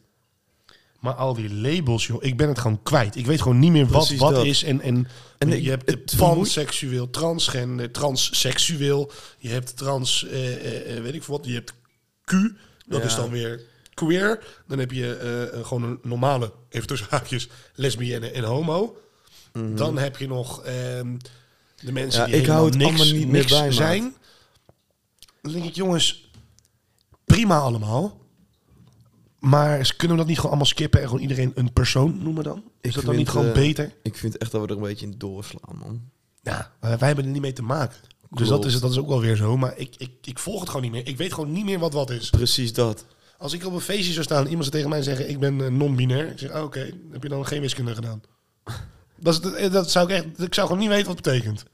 Speaker 3: Maar al die labels, joh. Ik ben het gewoon kwijt. Ik weet gewoon niet meer wat
Speaker 2: Precies
Speaker 3: wat
Speaker 2: dat.
Speaker 3: is. En, en,
Speaker 2: En
Speaker 3: je
Speaker 2: ik-
Speaker 3: hebt
Speaker 2: het
Speaker 3: het panseksueel, transgender, transseksueel. Je hebt trans, eh, eh, eh, weet ik veel wat. Je hebt Q, dat
Speaker 2: Ja.
Speaker 3: is dan weer queer. Dan heb je eh, eh, gewoon een normale, even tussen haakjes, lesbienne en homo. Dan heb je nog ehm, de mensen
Speaker 2: Mhm. Ja,
Speaker 3: die
Speaker 2: ik hou
Speaker 3: helemaal
Speaker 2: het
Speaker 3: niks,
Speaker 2: allemaal niet meer
Speaker 3: niks
Speaker 2: bij, maat.
Speaker 3: zijn. Dan denk ik, jongens, prima allemaal. Maar kunnen we dat niet gewoon allemaal skippen en gewoon iedereen een persoon noemen dan? Is
Speaker 2: Ik
Speaker 3: dat dan
Speaker 2: vind,
Speaker 3: niet gewoon
Speaker 2: eh,
Speaker 3: beter?
Speaker 2: ik vind echt dat we er een beetje in doorslaan, man.
Speaker 3: Ja, maar eh, wij hebben er niet mee te maken. Dus
Speaker 2: Klopt.
Speaker 3: dat is, dat is ook wel weer zo. Maar ik, ik, ik volg het gewoon niet meer. Ik weet gewoon niet meer wat wat is.
Speaker 2: Precies dat.
Speaker 3: Als ik op een feestje zou staan en iemand zou tegen mij zeggen... ik ben eh, non-binair. Ik zeg, ah, oké, heb je dan geen wiskunde gedaan? Dat, is, het- dat zou ik echt... Ik zou gewoon niet weten wat het betekent.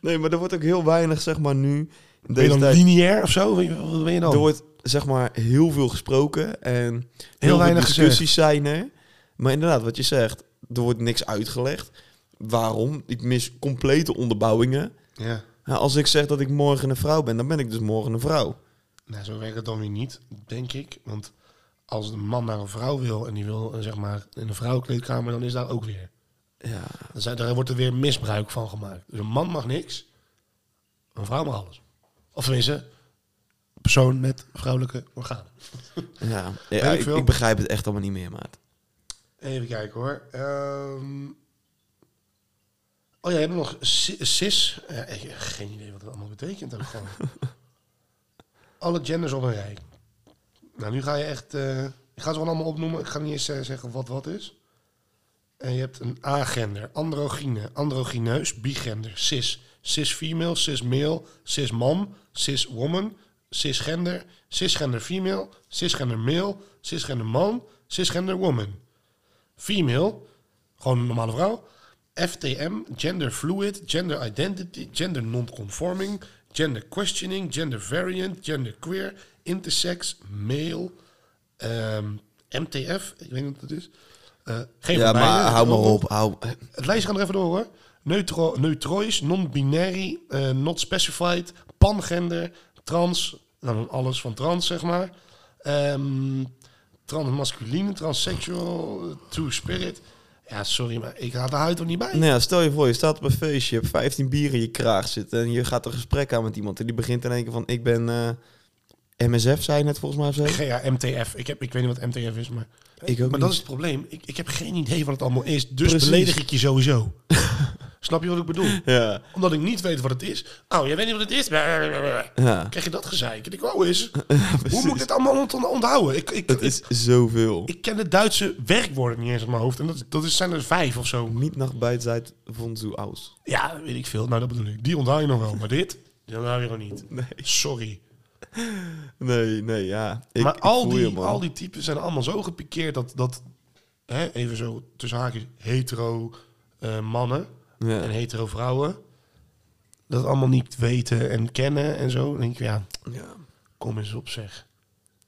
Speaker 2: Nee, maar er wordt ook heel weinig, zeg maar, nu... in
Speaker 3: Ben je
Speaker 2: deze
Speaker 3: dan
Speaker 2: tijd-
Speaker 3: lineair of zo? Wat wat ben je dan?
Speaker 2: Er wordt zeg maar heel veel gesproken en heel,
Speaker 3: weinig
Speaker 2: veel discussies zijn er. Maar inderdaad, wat je zegt, er wordt niks uitgelegd. Waarom? Ik mis complete onderbouwingen.
Speaker 3: Ja.
Speaker 2: Nou, als ik zeg dat ik morgen een vrouw ben, dan ben ik dus morgen een vrouw.
Speaker 3: Nou, zo werkt het dan weer niet, denk ik. Want als een man naar een vrouw wil en die wil eh, zeg maar in een vrouwenkleedkamer, dan is daar ook weer.
Speaker 2: Ja,
Speaker 3: Dan zijn, daar wordt er weer misbruik van gemaakt. Dus een man mag niks, een vrouw mag alles. Of tenminste, een persoon met vrouwelijke organen.
Speaker 2: ja.
Speaker 3: ik
Speaker 2: ja ik,
Speaker 3: veel.
Speaker 2: ik begrijp het echt allemaal niet meer, maat.
Speaker 3: Even kijken hoor. Ehm, Oh ja, je hebt nog si- cis. Ja, ik heb geen idee wat dat allemaal betekent. Ook gewoon. Alle genders op een rij. Nou, nu ga je echt... eh, ik ga ze gewoon allemaal opnoemen. Ik ga niet eens eh, zeggen wat wat is. En je hebt een agender, androgyne, androgyneus, bigender, cis. Cis female, cis male, cis man, cis woman, cisgender, cisgender female, cisgender male, cisgender man, cisgender woman. Female, gewoon een normale vrouw. FTM, gender fluid, gender identity, gender non-conforming, gender questioning, gender variant, gender queer, intersex, male, ehm, MTF, ik weet niet wat dat is. Eh, geen
Speaker 2: Ja,
Speaker 3: van beide,
Speaker 2: maar hou maar
Speaker 3: ook-
Speaker 2: op. Hou.
Speaker 3: het lijstje gaat er even door hoor. Neutro, neutrois, non-binary, eh, not specified, pangender, trans, nou dan alles van trans zeg maar. Ehm transmasculine, transsexual, eh, true spirit. Ja, sorry, maar ik haal de huid er niet bij.
Speaker 2: Nou ja, stel je voor, je staat op een feestje, je hebt 15 bieren in je kraag zitten en je gaat een gesprek aan met iemand en die begint in één keer van, ik ben eh, MSF, zei je net volgens mij of zo.
Speaker 3: Ja, MTF. Ik, heb, ik weet niet wat MTF is, maar...
Speaker 2: Ik ook
Speaker 3: maar
Speaker 2: niet.
Speaker 3: dat is het probleem. Ik, ik heb geen idee wat het allemaal is, dus
Speaker 2: Precies.
Speaker 3: beledig ik je sowieso. Snap je wat ik bedoel?
Speaker 2: Ja.
Speaker 3: Omdat ik niet weet wat het is. Oh, jij weet niet wat het is?
Speaker 2: Ja.
Speaker 3: Krijg je dat gezeik? En ik wou eens. Hoe moet ik dit allemaal ont- onthouden? Ik, ik,
Speaker 2: Het
Speaker 3: ik,
Speaker 2: is zoveel.
Speaker 3: ik ken de Duitse werkwoorden niet eens uit mijn hoofd. En dat, dat is, zijn er vijf of zo.
Speaker 2: Mietnachtbeidzeit von zu aus.
Speaker 3: Ja, weet ik veel. Nou, dat bedoel ik. Die onthoud je nog wel. Maar dit, die onthoud je gewoon niet. Sorry.
Speaker 2: Nee, nee, ja. Ik,
Speaker 3: maar
Speaker 2: ik
Speaker 3: al,
Speaker 2: voel
Speaker 3: die,
Speaker 2: je, man.
Speaker 3: al die types zijn allemaal zo gepikeerd dat, dat hè, even zo tussen haakjes, hetero eh, mannen
Speaker 2: Ja.
Speaker 3: en hetero vrouwen, dat allemaal niet weten en kennen en zo. Dan denk ik, ja,
Speaker 2: Ja,
Speaker 3: kom eens op zeg.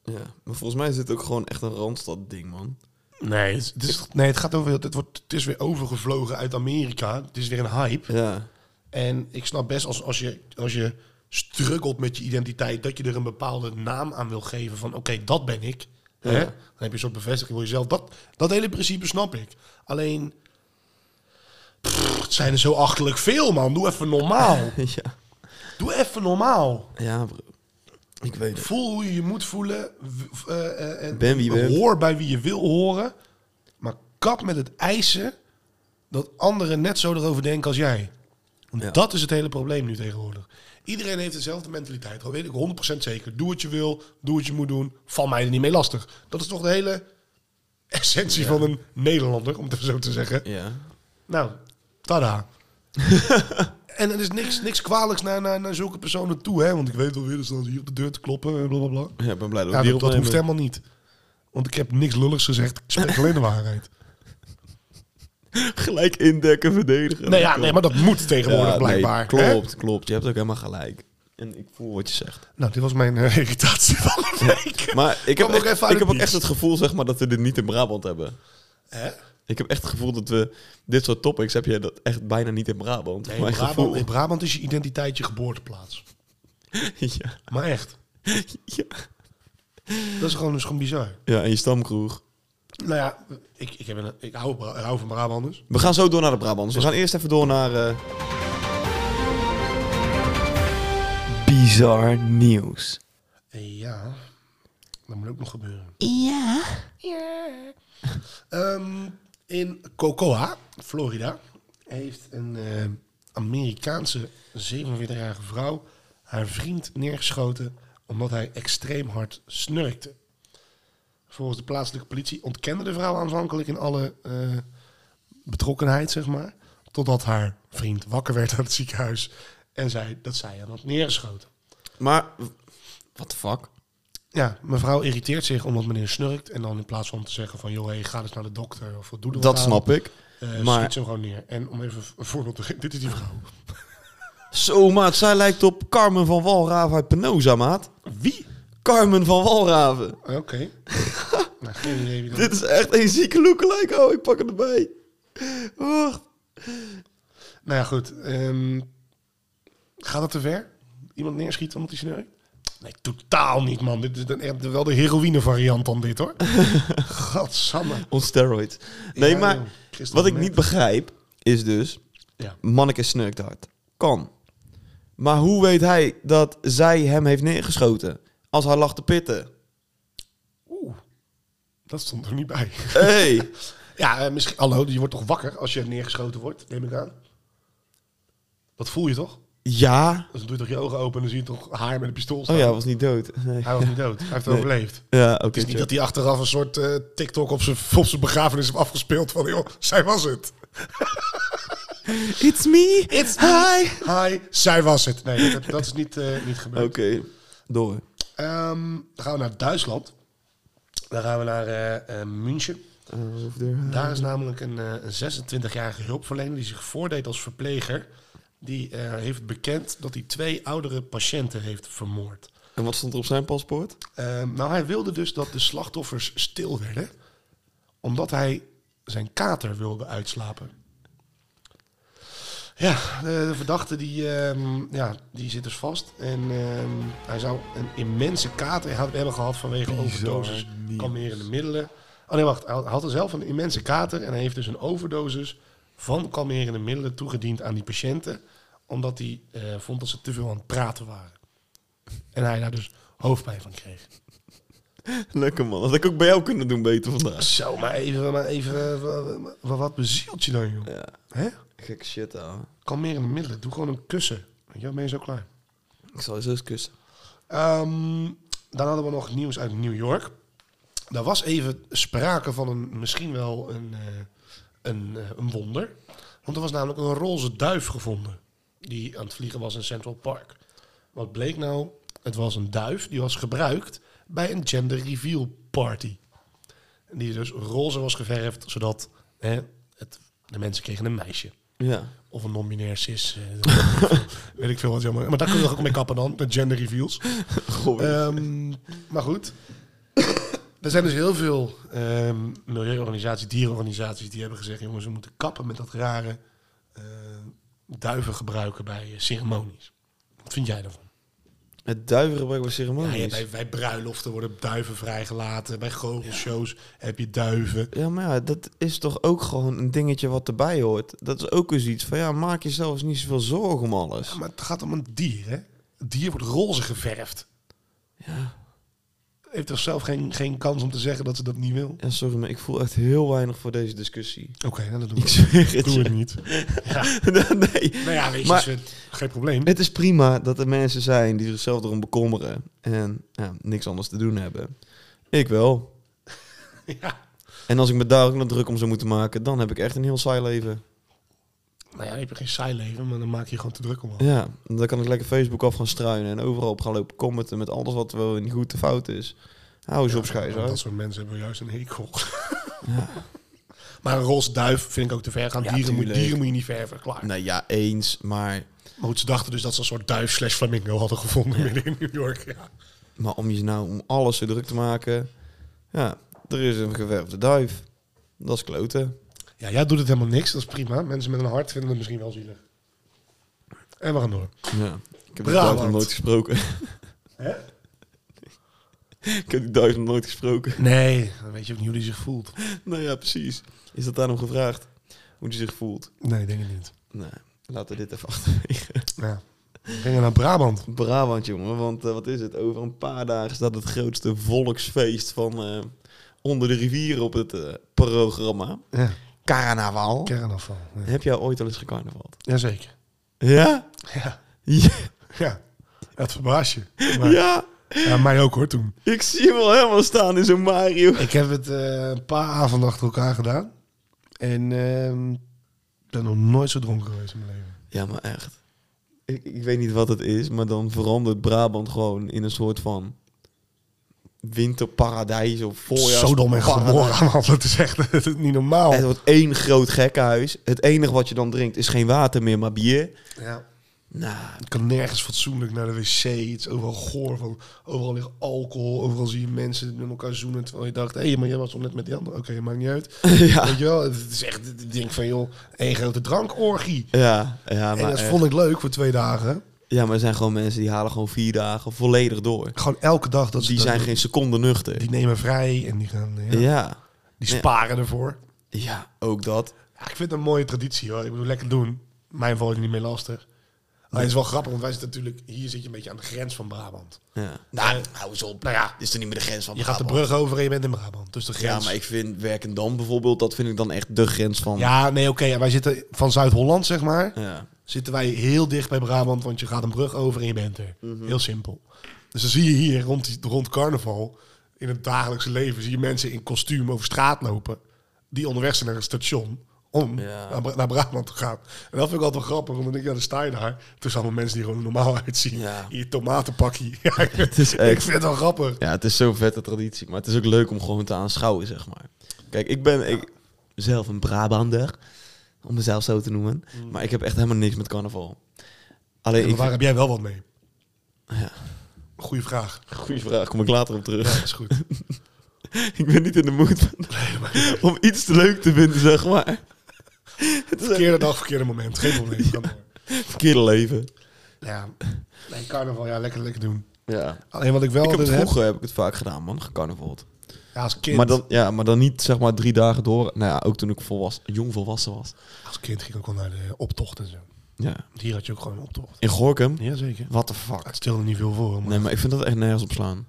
Speaker 2: ja. Maar volgens mij is dit ook gewoon echt een Randstad-ding, man.
Speaker 3: Nee, het, is- het is, nee, het gaat over, het, wordt, het is weer overgevlogen uit Amerika. Het is weer een hype.
Speaker 2: Ja.
Speaker 3: En ik snap best als, als, je, als je struggelt met je identiteit, dat je er een bepaalde naam aan wil geven van oké, dat ben ik. Hè?
Speaker 2: Ja.
Speaker 3: Dan heb je een soort bevestiging voor jezelf. Dat, dat hele principe snap ik. Alleen, pff, het zijn er zo achterlijk veel, man. Doe even normaal.
Speaker 2: ja.
Speaker 3: Doe even normaal.
Speaker 2: Ja, bro. Ik weet het.
Speaker 3: Voel hoe je je moet voelen. W- eh, eh, en
Speaker 2: Ben wie je bent.
Speaker 3: Hoor bij wie je wil horen. kap met het eisen dat anderen net zo erover denken als jij. Want
Speaker 2: Ja.
Speaker 3: dat is het hele probleem nu tegenwoordig. Iedereen heeft dezelfde mentaliteit. Dat weet ik 100% zeker. Doe wat je wil, doe wat je moet doen. Val mij er niet mee lastig. Dat is toch de hele essentie van een Nederlander, om het zo te zeggen.
Speaker 2: Ja.
Speaker 3: Nou, tada. en er is niks, niks kwalijks naar, naar, naar zulke personen toe, hè? Want ik weet wel weer dat ze hier op de deur te kloppen en blablabla.
Speaker 2: Ja, ik ben blij dat we
Speaker 3: Ja,
Speaker 2: die
Speaker 3: dat, dat
Speaker 2: opnemen.
Speaker 3: hoeft helemaal niet. Want ik heb niks lulligs gezegd. Ik spreek alleen de waarheid.
Speaker 2: Gelijk indekken, verdedigen.
Speaker 3: Nee, ja, nee, maar dat moet tegenwoordig
Speaker 2: Ja, nee,
Speaker 3: blijkbaar. hè?
Speaker 2: klopt, klopt. Je hebt ook helemaal gelijk. En ik voel wat je zegt.
Speaker 3: Nou, dit was mijn eh, irritatie van de week.
Speaker 2: Maar ik heb,
Speaker 3: Kom ook
Speaker 2: echt,
Speaker 3: even uit
Speaker 2: ik heb
Speaker 3: het
Speaker 2: ook echt
Speaker 3: niets.
Speaker 2: het gevoel zeg maar, dat we dit niet in Brabant hebben.
Speaker 3: Hè?
Speaker 2: Ik heb echt het gevoel dat we dit soort topics heb je dat echt bijna niet in Brabant.
Speaker 3: Nee, in
Speaker 2: Mijn
Speaker 3: Brabant,
Speaker 2: gevoel.
Speaker 3: in Brabant is je identiteit je geboorteplaats.
Speaker 2: ja.
Speaker 3: Maar echt,
Speaker 2: Ja.
Speaker 3: dat is gewoon, dat is gewoon bizar.
Speaker 2: ja, en je stamkroeg.
Speaker 3: Nou ja, ik, ik, heb een, ik hou, Bra- hou van Brabanders.
Speaker 2: We gaan zo door naar de Brabants. We
Speaker 3: Dus-
Speaker 2: gaan eerst even door naar... eh,
Speaker 5: Bizar nieuws.
Speaker 3: Eh, Ja, dat moet ook nog gebeuren.
Speaker 5: Ja.
Speaker 3: Ehm, in Cocoa, Florida, heeft een eh, Amerikaanse 47-jarige vrouw haar vriend neergeschoten omdat hij extreem hard snurkte. Volgens de plaatselijke politie ontkende de vrouw aanvankelijk in alle eh, betrokkenheid, zeg maar. Totdat haar vriend wakker werd aan het ziekenhuis en zei dat zij hem had neergeschoten.
Speaker 2: Maar... What the fuck?
Speaker 3: Ja, mevrouw irriteert zich omdat meneer snurkt. En dan in plaats van te zeggen van, joh, hey, ga eens naar de dokter of doe er wat
Speaker 2: Dat
Speaker 3: aan,
Speaker 2: snap ik.
Speaker 3: eh,
Speaker 2: maar-
Speaker 3: Schiet ze hem gewoon neer. En om even een voorbeeld te geven, dit is die vrouw.
Speaker 2: Zo, maat. Zij lijkt op Carmen van Walraven uit Penosa, maat.
Speaker 3: Wie?
Speaker 2: Carmen van Walraven.
Speaker 3: Oké. nou, geen idee wie dat
Speaker 2: Dit is echt een zieke lookalike. Oh, ik pak het erbij. Wacht.
Speaker 3: Nou ja, goed. ehm, gaat dat te ver? Iemand neerschieten omdat hij snurkt? Nee, totaal niet, man. Dit is dan echt wel de heroïne variant dan dit, hoor. Gadsamme.
Speaker 2: On steroids. Nee,
Speaker 3: Ja,
Speaker 2: maar
Speaker 3: joh. Christophe
Speaker 2: wat ik
Speaker 3: Merk.
Speaker 2: niet begrijp is dus...
Speaker 3: Ja.
Speaker 2: Manneke snurkt hard. Kan. Maar hoe weet hij dat zij hem heeft neergeschoten? Als hij lag te pitten.
Speaker 3: Oeh, dat stond er niet bij.
Speaker 2: Hey.
Speaker 3: Ja, eh, misschien. Hallo, je wordt toch wakker als je neergeschoten wordt, neem ik aan. Dat voel je toch?
Speaker 2: ja.
Speaker 3: Dus dan doe je toch je ogen open en dan zie je toch haar met een pistool staan.
Speaker 2: Oh ja, was niet dood. Nee.
Speaker 3: Hij was niet dood. Hij heeft overleefd.
Speaker 2: Ja, oké.
Speaker 3: Het is niet
Speaker 2: chill.
Speaker 3: dat hij achteraf een soort eh, TikTok op zijn op zijn begrafenis heeft afgespeeld van joh, zij was het.
Speaker 2: It's me. It's hi.
Speaker 3: Hi, zij was het. Nee, dat, dat is niet, eh,
Speaker 2: Oké.
Speaker 3: niet gebeurd.
Speaker 2: Door.
Speaker 3: Ehm, dan gaan we naar Duitsland. Dan gaan we naar eh, eh, München.
Speaker 2: Eh,
Speaker 3: Daar is namelijk een, eh, een 26-jarige hulpverlener die zich voordeed als verpleger. Die eh, heeft bekend dat hij twee oudere patiënten heeft vermoord.
Speaker 2: En wat stond er op zijn paspoort?
Speaker 3: Ehm, nou, hij wilde dus dat de slachtoffers stil werden, omdat hij zijn kater wilde uitslapen. Ja, de, de verdachte die, ehm, ja, die zit dus vast. En ehm, hij zou een immense kater had- hebben gehad vanwege overdosis kalmerende middelen. Oh nee, wacht. Hij had- hij had er zelf een immense kater en hij heeft dus een overdosis van kalmerende middelen toegediend aan die patiënten. Omdat hij eh, vond dat ze te veel aan het praten waren. En hij daar dus hoofdpijn van kreeg.
Speaker 2: Lekker man. Dat had ik ook bij jou kunnen doen beter vandaag.
Speaker 3: Zo, maar even, maar even eh, wat, wat bezielt je dan, joh?
Speaker 2: Ja.
Speaker 3: Hè?
Speaker 2: Gekke shit, ouwe.
Speaker 3: Kalmerende middelen. Doe gewoon een kussen. Weet je, wel, ben je zo klaar.
Speaker 2: Ik zal je zus kussen.
Speaker 3: Ehm, dan hadden we nog nieuws uit New York. Daar was even sprake van een, misschien wel een, eh, een, eh, een wonder. Want er was namelijk een roze duif gevonden. Die aan het vliegen was in Central Park. Wat bleek nou? Het was een duif die was gebruikt bij een gender reveal party. En Die dus roze was geverfd, zodat hè, het, de mensen kregen een meisje.
Speaker 2: Ja.
Speaker 3: Of een non-binair cis. eh, weet ik veel wat jammer. Maar daar kunnen we toch ook mee kappen dan, met gender reveals.
Speaker 2: Goh.
Speaker 3: Ehm, maar goed. Er zijn dus heel veel ehm, milieuorganisaties, dierenorganisaties... die hebben gezegd, jongens, we moeten kappen met dat rare... eh, duiven gebruiken bij eh, ceremonies. Wat vind jij daarvan?
Speaker 2: het duivengebruik bij
Speaker 3: Ja, je hebt
Speaker 2: ceremonies. Ja,
Speaker 3: bij, bij bruiloften worden duiven vrijgelaten. Bij goochelshows heb je duiven.
Speaker 2: maar ja, dat is toch ook gewoon een dingetje wat erbij hoort. Dat is ook eens iets van, ja, maak jezelf eens niet zoveel zorgen om alles.
Speaker 3: Maar het gaat om een dier, hè? Het dier wordt roze geverfd. Ja. heeft toch zelf geen, geen kans om te zeggen dat ze dat niet wil? Oké,
Speaker 2: Ja, sorry, maar ik voel echt heel weinig voor deze discussie.
Speaker 3: nou, dat doe
Speaker 2: Ik
Speaker 3: ik.
Speaker 2: zweer het
Speaker 3: Doe
Speaker 2: je.
Speaker 3: het niet. Ja.
Speaker 2: nee.
Speaker 3: Nou ja, weet je,
Speaker 2: Maar-
Speaker 3: Sven, geen probleem.
Speaker 2: Het is prima dat er mensen zijn die zichzelf erom bekommeren en ja, niks anders te doen hebben. Ik wel.
Speaker 3: Ja.
Speaker 2: En als ik me daar ook nog druk om zou moeten maken, dan heb ik echt een heel saai leven.
Speaker 3: Nou ja, je hebt geen saai leven, maar dan maak je je gewoon te druk om. al.
Speaker 2: Ja, dan kan ik lekker Facebook af gaan struinen en overal op gaan lopen commenten met alles wat wel niet goed te fout is. Hou eens op, schijs.
Speaker 3: Want
Speaker 2: hoor.
Speaker 3: Dat soort mensen hebben juist een hekel. Maar een roze duif vind ik ook te ver gaan.
Speaker 2: Ja,
Speaker 3: dieren, moet,
Speaker 2: tuurlijk.
Speaker 3: dieren moet je niet verven, klaar.
Speaker 2: Nou ja, eens, maar,
Speaker 3: Maar goed, ze dachten dus dat ze een soort duif slash flamingo hadden gevonden midden in New York. Ja.
Speaker 2: maar om je nou om alles zo druk te maken. Ja, er is een geverfde duif. Dat is kloten.
Speaker 3: ja, jij doet het helemaal niks, dat is prima. Mensen met een hart vinden het misschien wel zielig. En we gaan door.
Speaker 2: Ja. Ik heb die
Speaker 3: Brabant.
Speaker 2: duif nog nooit gesproken.
Speaker 3: Hè?
Speaker 2: ik heb die duif nog nooit gesproken.
Speaker 3: Nee, dan weet je ook niet hoe die zich voelt.
Speaker 2: Nou ja, precies. Is dat daarom gevraagd? Hoe hij zich voelt?
Speaker 3: Nee, ik denk het niet.
Speaker 2: Nou, laten we dit even achterwege.
Speaker 3: Ja. We gingen naar Brabant.
Speaker 2: Brabant, jongen. Want eh, wat is het? Over een paar dagen staat het grootste volksfeest van eh, onder de rivieren op het eh, programma.
Speaker 3: Ja,
Speaker 2: Carnaval.
Speaker 3: kernafval. Ja.
Speaker 2: Heb jij ooit al eens gecarnavald?
Speaker 3: Jazeker.
Speaker 2: Ja?
Speaker 3: Ja.
Speaker 2: Ja.
Speaker 3: ja. Dat verbaast je. Maar, ja.
Speaker 2: ja.
Speaker 3: mij ook hoor toen.
Speaker 2: Ik zie hem al helemaal staan in zo'n Mario.
Speaker 3: Ik heb het eh, een paar avonden achter elkaar gedaan. En ehm ben nog nooit zo dronken geweest in mijn leven.
Speaker 2: Ja, maar echt. Ik, ik weet niet wat het is, maar dan verandert Brabant gewoon in een soort van winterparadijs of voorjaars.
Speaker 3: Sodom en
Speaker 2: paradijs.
Speaker 3: Gomorra, man. Dat is echt dat is niet normaal.
Speaker 2: Het wordt één groot gekkenhuis. Het enige wat je dan drinkt is geen water meer, maar bier.
Speaker 3: Ja.
Speaker 2: Nou,
Speaker 3: Ik kan nergens fatsoenlijk naar de wc. Het is overal goor. Van, overal ligt alcohol. Overal zie je mensen met elkaar zoenen. Terwijl je dacht, hé, maar jij was toch net met die andere. Oké, maakt niet uit.
Speaker 2: ja.
Speaker 3: Weet je wel, het is echt het ding van, joh, één grote drankorgie.
Speaker 2: Ja, ja,
Speaker 3: en
Speaker 2: maar eh,
Speaker 3: dat
Speaker 2: echt.
Speaker 3: vond ik leuk voor twee dagen.
Speaker 2: ja, maar er zijn gewoon mensen die halen gewoon vier dagen volledig door.
Speaker 3: Gewoon elke dag dat ze
Speaker 2: Die
Speaker 3: dat
Speaker 2: zijn
Speaker 3: doen.
Speaker 2: geen seconde nuchter.
Speaker 3: Die nemen vrij en die gaan, ja,
Speaker 2: Ja,
Speaker 3: die sparen ervoor.
Speaker 2: ja, ook dat.
Speaker 3: Ja, ik vind het een mooie traditie hoor. Ik bedoel, lekker doen. Mijn valt er niet mee lastig. Maar het is wel grappig, want wij zitten natuurlijk... Hier zit je een beetje aan de grens van Brabant.
Speaker 2: Ja.
Speaker 3: Nou, hou eens op. Nou ja,
Speaker 2: Is er niet meer de grens van
Speaker 3: je gaat de brug over en je bent in Brabant. Dus de
Speaker 2: Ja,
Speaker 3: grens...
Speaker 2: maar ik vind Werkendam bijvoorbeeld, dat vind ik dan echt de grens van...
Speaker 3: Ja, nee, oké. ja, wij zitten van Zuid-Holland, zeg maar.
Speaker 2: ja.
Speaker 3: Zitten wij heel dicht bij Brabant, want je gaat een brug over en je bent er.
Speaker 2: Mhm.
Speaker 3: Heel simpel. Dus dan zie je hier rond, die- rond carnaval, in het dagelijkse leven, zie je mensen in kostuum over straat lopen. Die onderweg zijn naar het station om
Speaker 2: Ja.
Speaker 3: naar, Bra- naar Brabant te gaan. En dat vind ik altijd wel grappig, want dan denk ik, ja, dan sta je daar. Tussen allemaal mensen die gewoon normaal uitzien.
Speaker 2: Ja.
Speaker 3: In je tomatenpakkie. Ja, ik, vind-
Speaker 2: is echt-
Speaker 3: ik vind het wel grappig.
Speaker 2: Ja, het is zo'n vette traditie. Maar het is ook leuk om gewoon te aanschouwen, zeg maar. Kijk, ik ben ik, zelf een Brabander. Om mezelf zo te noemen. Maar ik heb echt helemaal niks met carnaval. Alleen,
Speaker 3: En
Speaker 2: ik...
Speaker 3: waar heb jij wel wat mee?
Speaker 2: Ja.
Speaker 3: Goeie vraag.
Speaker 2: Goeie vraag, kom ik later op terug.
Speaker 3: Ja, is goed.
Speaker 2: ik ben niet in de moed om iets te leuk te vinden, zeg maar. Het is echt
Speaker 3: Verkeerde dag, verkeerde moment. Geen probleem. Kan door.
Speaker 2: het verkeerde leven.
Speaker 3: Ja, nee, carnaval, ja, lekker, lekker doen.
Speaker 2: Ja.
Speaker 3: Alleen wat ik wel
Speaker 2: Ik heb het
Speaker 3: altijd heb-
Speaker 2: vroeger heb ik het vaak gedaan, man, gecarnavald.
Speaker 3: ja, als kind,
Speaker 2: Maar dan, ja, maar dan niet zeg maar drie dagen door. Nou ja, ook toen ik volwassen, jong volwassen was.
Speaker 3: als kind ging ik ook wel naar de optocht en zo.
Speaker 2: Ja.
Speaker 3: Want Hier had je ook gewoon een optocht.
Speaker 2: In Gorkum?
Speaker 3: Jazeker.
Speaker 2: What the fuck?
Speaker 3: Het stelde niet veel voor. Maar...
Speaker 2: Nee, maar ik vind dat echt nergens op slaan.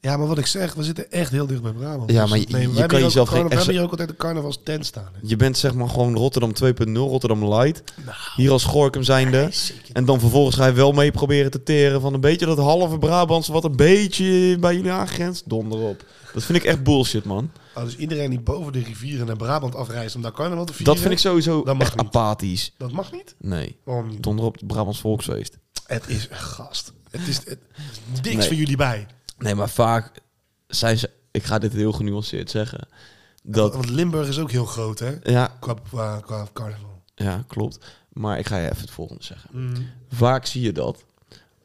Speaker 3: Ja, maar wat ik zeg, we zitten echt heel dicht bij Brabant.
Speaker 2: Ja, maar je-
Speaker 3: dat nemen-
Speaker 2: je
Speaker 3: we
Speaker 2: kan
Speaker 3: hebben hier ook
Speaker 2: jezelf
Speaker 3: een carna-
Speaker 2: geen-
Speaker 3: We hebben hier ook altijd een carnavalstent staan. hè.
Speaker 2: Je bent zeg maar gewoon Rotterdam 2.0, Rotterdam Light.
Speaker 3: Nou,
Speaker 2: Hier als Gorkum zijnde. En dan vervolgens ga je wel mee proberen te teren van een beetje dat halve Brabants wat een beetje bij jullie aangrenst. Donder op. Dat vind ik echt bullshit, man.
Speaker 3: Oh, dus iedereen die boven de rivieren naar Brabant afreist om daar carnaval te vieren,
Speaker 2: Dat vind ik sowieso
Speaker 3: Dat mag
Speaker 2: echt
Speaker 3: niet.
Speaker 2: apathisch.
Speaker 3: dat mag niet.
Speaker 2: Nee.
Speaker 3: Waarom niet?
Speaker 2: Donder op het Brabants Volksfeest.
Speaker 3: Het is gast. Het is, het is niks
Speaker 2: Nee.
Speaker 3: voor jullie bij.
Speaker 2: Nee, maar vaak zijn ze... Ik ga dit heel genuanceerd zeggen. Dat...
Speaker 3: Want Limburg is ook heel groot, hè?
Speaker 2: Ja,
Speaker 3: Qua, qua, qua carnaval.
Speaker 2: ja, klopt. Maar ik ga je even het volgende zeggen.
Speaker 3: Mm.
Speaker 2: Vaak zie je dat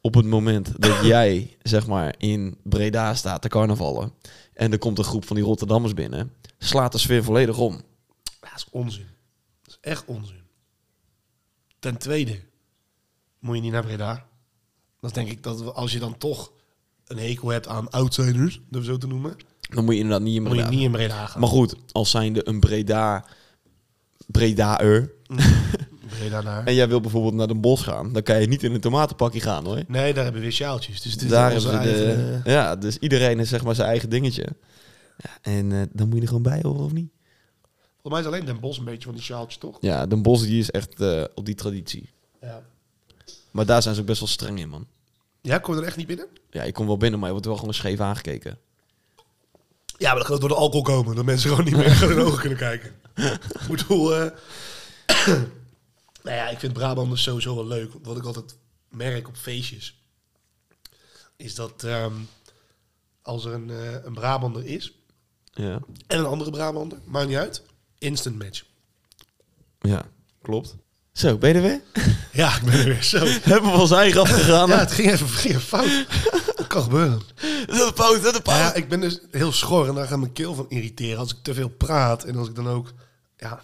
Speaker 2: op het moment dat jij, zeg maar, in Breda staat te carnavallen... en er komt een groep van die Rotterdammers binnen... slaat de sfeer volledig om.
Speaker 3: Ja, dat is onzin. Dat is echt onzin. Ten tweede, moet je niet naar Breda. Dan denk ik dat we- als je dan toch een hekel hebt aan outsiders, om het zo te noemen,
Speaker 2: Dan moet je inderdaad niet in
Speaker 3: moet je
Speaker 2: Breda.
Speaker 3: niet in Breda gaan.
Speaker 2: Maar goed, als zijnde een Breda... Breda'er.
Speaker 3: twee daarna.
Speaker 2: En jij wil bijvoorbeeld naar Den Bosch gaan, dan kan je niet in een tomatenpakje gaan hoor.
Speaker 3: Nee, daar hebben we weer sjaaltjes. Dus het is
Speaker 2: Daar
Speaker 3: onze
Speaker 2: hebben ze de,
Speaker 3: eigen, eh,
Speaker 2: Ja, dus iedereen heeft zeg maar zijn eigen dingetje. Ja, en eh, dan moet je er gewoon bij horen of niet?
Speaker 3: Volgens mij is alleen Den Bos een beetje van die sjaaltjes, toch?
Speaker 2: Ja, Den Bosch die is echt eh, op die traditie.
Speaker 3: Ja.
Speaker 2: Maar daar zijn ze ook best wel streng in man.
Speaker 3: Ja, kom je er echt niet binnen?
Speaker 2: Ja, je komt wel binnen, maar je wordt wel gewoon scheef aangekeken.
Speaker 3: Ja, maar dat kan ook door de alcohol komen. Dat mensen gewoon niet meer in de ogen kunnen kijken. Ik bedoel... eh, nou ja, ik vind Brabanders sowieso wel leuk. Wat ik altijd merk op feestjes... is dat ehm, als er een, eh, een Brabander is...
Speaker 2: Ja,
Speaker 3: en een andere Brabander, maakt niet uit... instant match.
Speaker 2: ja klopt. Zo, ben je er weer?
Speaker 3: Ja, ik ben er weer zo.
Speaker 2: Hebben we ons eigen afgegaan?
Speaker 3: Ja, het ging even, ging even fout. Dat kan gebeuren.
Speaker 2: De poot, de poot.
Speaker 3: Maar ja, ik ben dus heel schor en daar gaat mijn keel van irriteren als ik te veel praat. En als ik dan ook ja,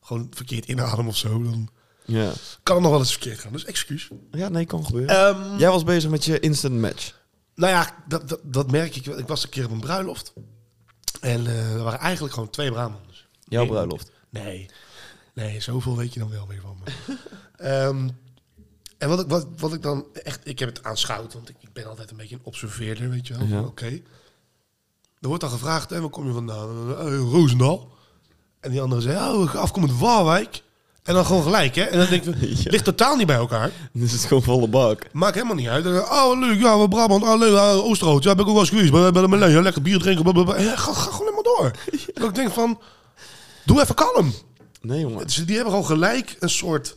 Speaker 3: gewoon verkeerd inadem of zo, dan
Speaker 2: Ja.
Speaker 3: kan het nog wel eens verkeerd gaan. Dus excuus.
Speaker 2: ja, nee, kan gebeuren.
Speaker 3: Ehm,
Speaker 2: Jij was bezig met je instant match.
Speaker 3: Nou ja, dat, dat, dat merk ik wel. Ik was een keer op een bruiloft. En eh er waren eigenlijk gewoon twee Brabanders.
Speaker 2: Jouw
Speaker 3: Nee,
Speaker 2: bruiloft.
Speaker 3: Nee. Nee, zoveel weet je dan wel weer van me. Ehm, en wat ik, wat, wat ik dan echt... Ik heb het aanschouwd, want ik, ik ben altijd een beetje een observeerder, weet je wel.
Speaker 2: Ja.
Speaker 3: Oké. Er wordt dan gevraagd, hè, waar kom je vandaan? Eh, Roosendaal. En die andere zei, oh, afkomend Waalwijk. En dan gewoon gelijk, hè. En dan denk ik,
Speaker 2: Ja.
Speaker 3: ligt totaal niet bij elkaar.
Speaker 2: Dus het is gewoon volle bak.
Speaker 3: Maakt helemaal niet uit. En, eh, oh, leuk, ja, we Brabant, oh, leuk, ah, Oosterhout. Ja, ben ik ook wel eens geweest. Maar, maar, maar, ja, lekker bier drinken. blablabla. Ja, ga, ga gewoon helemaal door. Dat ik denk van, doe even kalm.
Speaker 2: Nee, jongen.
Speaker 3: Dus die hebben gewoon gelijk een soort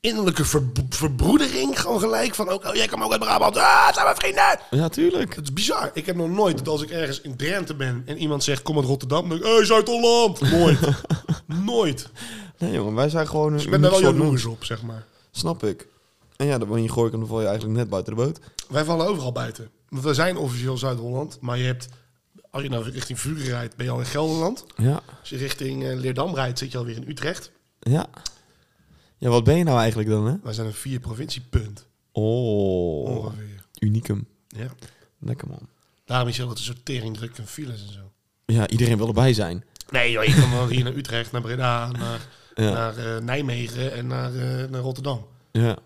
Speaker 3: innerlijke ver- verbroedering. Gewoon gelijk van, ook, oh, jij komt ook uit Brabant. Ah, zijn we vrienden.
Speaker 2: Ja, tuurlijk.
Speaker 3: Het is bizar. Ik heb nog nooit dat als ik ergens in Drenthe ben en iemand zegt, kom uit Rotterdam. Dan denk ik, hey, Zuid-Holland. Nooit. nooit.
Speaker 2: Nee, jongen, wij zijn gewoon een
Speaker 3: Dus ik ben daar wel
Speaker 2: uniek soort
Speaker 3: jaloers op, zeg maar.
Speaker 2: mens. Snap ik. En ja, dan ben je gooi ik hem, dan val je eigenlijk net buiten de boot.
Speaker 3: Wij vallen overal buiten. Want we zijn officieel Zuid-Holland. Maar je hebt, als je nou richting Vuren rijdt, ben je al in Gelderland.
Speaker 2: Ja.
Speaker 3: Als je richting eh, Leerdam rijdt, zit je alweer in Utrecht.
Speaker 2: Ja. Ja, wat ben je nou eigenlijk dan, hè?
Speaker 3: Wij zijn een vier provinciepunt,
Speaker 2: Oh,
Speaker 3: ongeveer.
Speaker 2: unicum.
Speaker 3: Ja.
Speaker 2: Lekker, man.
Speaker 3: Daarom is heel wat een sortering druk en files en zo.
Speaker 2: Ja, iedereen wil erbij zijn.
Speaker 3: Nee, joh, je kan wel hier naar Utrecht, naar Breda, naar,
Speaker 2: Ja.
Speaker 3: naar eh, Nijmegen en naar, eh, naar Rotterdam.
Speaker 2: Ja,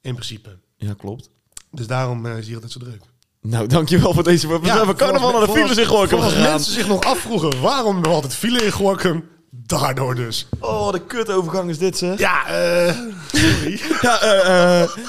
Speaker 3: In principe.
Speaker 2: ja klopt.
Speaker 3: Dus daarom eh is hier altijd zo druk.
Speaker 2: Nou, dankjewel voor deze... We zijn van carnaval naar de files in Gorkum
Speaker 3: Als
Speaker 2: gegaan.
Speaker 3: mensen zich nog afvroegen waarom we altijd file in Gorkum, daardoor dus.
Speaker 2: Oh, de kutovergang is dit, zeg.
Speaker 3: Ja, eh sorry.
Speaker 2: Ja, eh, eh.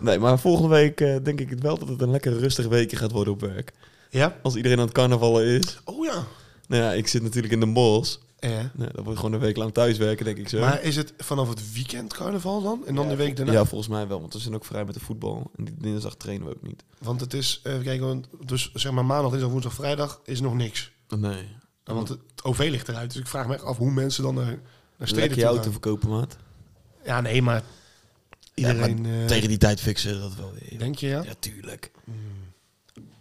Speaker 2: Nee, maar volgende week eh, denk ik wel dat het een lekker rustig weekje gaat worden op werk.
Speaker 3: ja?
Speaker 2: Als iedereen aan het carnavallen is.
Speaker 3: Oh ja.
Speaker 2: Nou ja, ik zit natuurlijk in de malls.
Speaker 3: Ja.
Speaker 2: Nou, dat wordt gewoon een week lang thuiswerken, denk ik zo.
Speaker 3: Eh, Maar is het vanaf het weekend carnaval dan? En dan de week daarna?
Speaker 2: Ja, volgens mij wel, want we zijn ook vrij met de voetbal. En die dinsdag trainen we ook niet.
Speaker 3: Want het is, eh, even kijken, want- dus zeg maar maandag, dinsdag, woensdag, vrijdag is nog niks.
Speaker 2: Nee.
Speaker 3: Want het OV ligt eruit. Dus ik vraag me echt af hoe mensen dan naar, naar steden
Speaker 2: Lekker
Speaker 3: toe
Speaker 2: je
Speaker 3: gaan.
Speaker 2: auto verkopen, maat.
Speaker 3: Ja, nee, maar iedereen... eh,
Speaker 2: Tegen die tijd fixen dat wel weer.
Speaker 3: Denk je, ja?
Speaker 2: Ja, tuurlijk. Mm.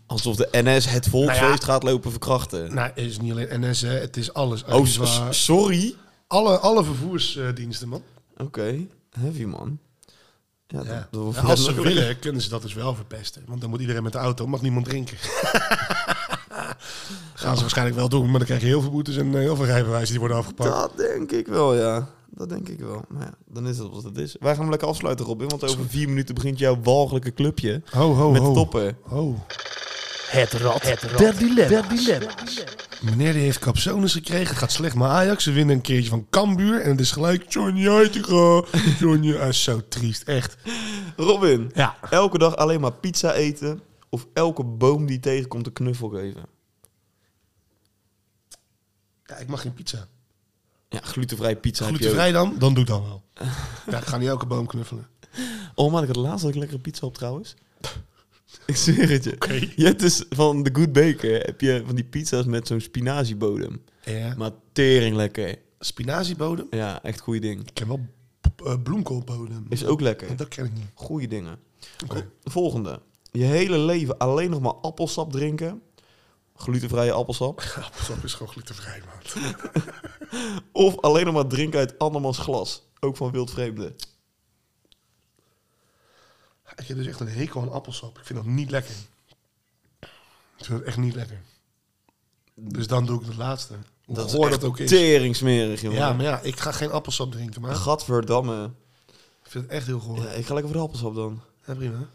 Speaker 2: Alsof de NS het volksfeest
Speaker 3: Nou ja.
Speaker 2: gaat lopen verkrachten.
Speaker 3: Nou, het is niet alleen NS, hè. het is alles.
Speaker 2: oh,
Speaker 3: Het is
Speaker 2: s-
Speaker 3: waar.
Speaker 2: s- sorry.
Speaker 3: alle, alle vervoersdiensten, man.
Speaker 2: Oké, heavy man. Ja, dat-
Speaker 3: Ja.
Speaker 2: dat wordt
Speaker 3: Ja,
Speaker 2: voor
Speaker 3: als
Speaker 2: hem
Speaker 3: ze
Speaker 2: ook lekker.
Speaker 3: willen, kunnen ze dat dus wel verpesten. Want dan moet iedereen met de auto, mag niemand drinken. Gaan ze waarschijnlijk wel doen, maar dan krijg je heel veel boetes en eh, heel veel rijbewijzen die worden afgepakt.
Speaker 2: Dat denk ik wel, ja. Dat denk ik wel. Maar ja, dan is het wat het is. Wij gaan hem lekker afsluiten, Robin. Want over vier minuten begint jouw walgelijke clubje.
Speaker 3: Ho, ho,
Speaker 2: met
Speaker 3: ho.
Speaker 2: toppen.
Speaker 3: Oh,
Speaker 4: Het rad. Het rad. Der dilemma's.
Speaker 3: meneer die heeft capsones gekregen. Het gaat slecht met Ajax. Ze winnen een keertje van Cambuur. En het is gelijk Johnny Heitinga. Johnny, ah, zo triest. Echt.
Speaker 2: Robin,
Speaker 3: Ja.
Speaker 2: elke dag alleen maar pizza eten. Of elke boom die tegenkomt een knuffel geven.
Speaker 3: ja. Ik mag geen pizza.
Speaker 2: Ja, glutenvrij pizza heb je ook.
Speaker 3: Glutenvrij dan? Dan doe ik dan wel. Ja, ik ga niet elke boom knuffelen.
Speaker 2: Oh man, ik had laatst ook lekkere pizza op trouwens. ik zweer het je. Je hebt dus van The Good Baker heb je van die pizza's met zo'n spinaziebodem.
Speaker 3: Ja.
Speaker 2: Maar tering lekker.
Speaker 3: Spinaziebodem?
Speaker 2: Ja, echt goede ding.
Speaker 3: Ik ken wel b- eh, bloemkoolbodem.
Speaker 2: Is ook lekker.
Speaker 3: Dat ken ik niet.
Speaker 2: Goede dingen.
Speaker 3: Oké.
Speaker 2: Volgende. Je hele leven alleen nog maar appelsap drinken. Glutenvrije appelsap.
Speaker 3: Appelsap is gewoon glutenvrij, man.
Speaker 2: Of alleen nog maar drinken uit andermans glas. Ook van wildvreemden.
Speaker 3: Ik heb dus echt een hekel aan appelsap. Ik vind dat niet lekker. Ik vind dat echt niet lekker. Dus dan doe ik de laatste. Dat
Speaker 2: Dat
Speaker 3: hoor
Speaker 2: is
Speaker 3: dat
Speaker 2: echt
Speaker 3: ook is.
Speaker 2: teringsmerig, jongen.
Speaker 3: Ja, maar ja, ik ga geen appelsap drinken, maar
Speaker 2: Gadverdamme.
Speaker 3: ik vind het echt heel goor.
Speaker 2: Ja,
Speaker 3: Ja,
Speaker 2: ik ga lekker voor de appelsap dan.
Speaker 3: prima.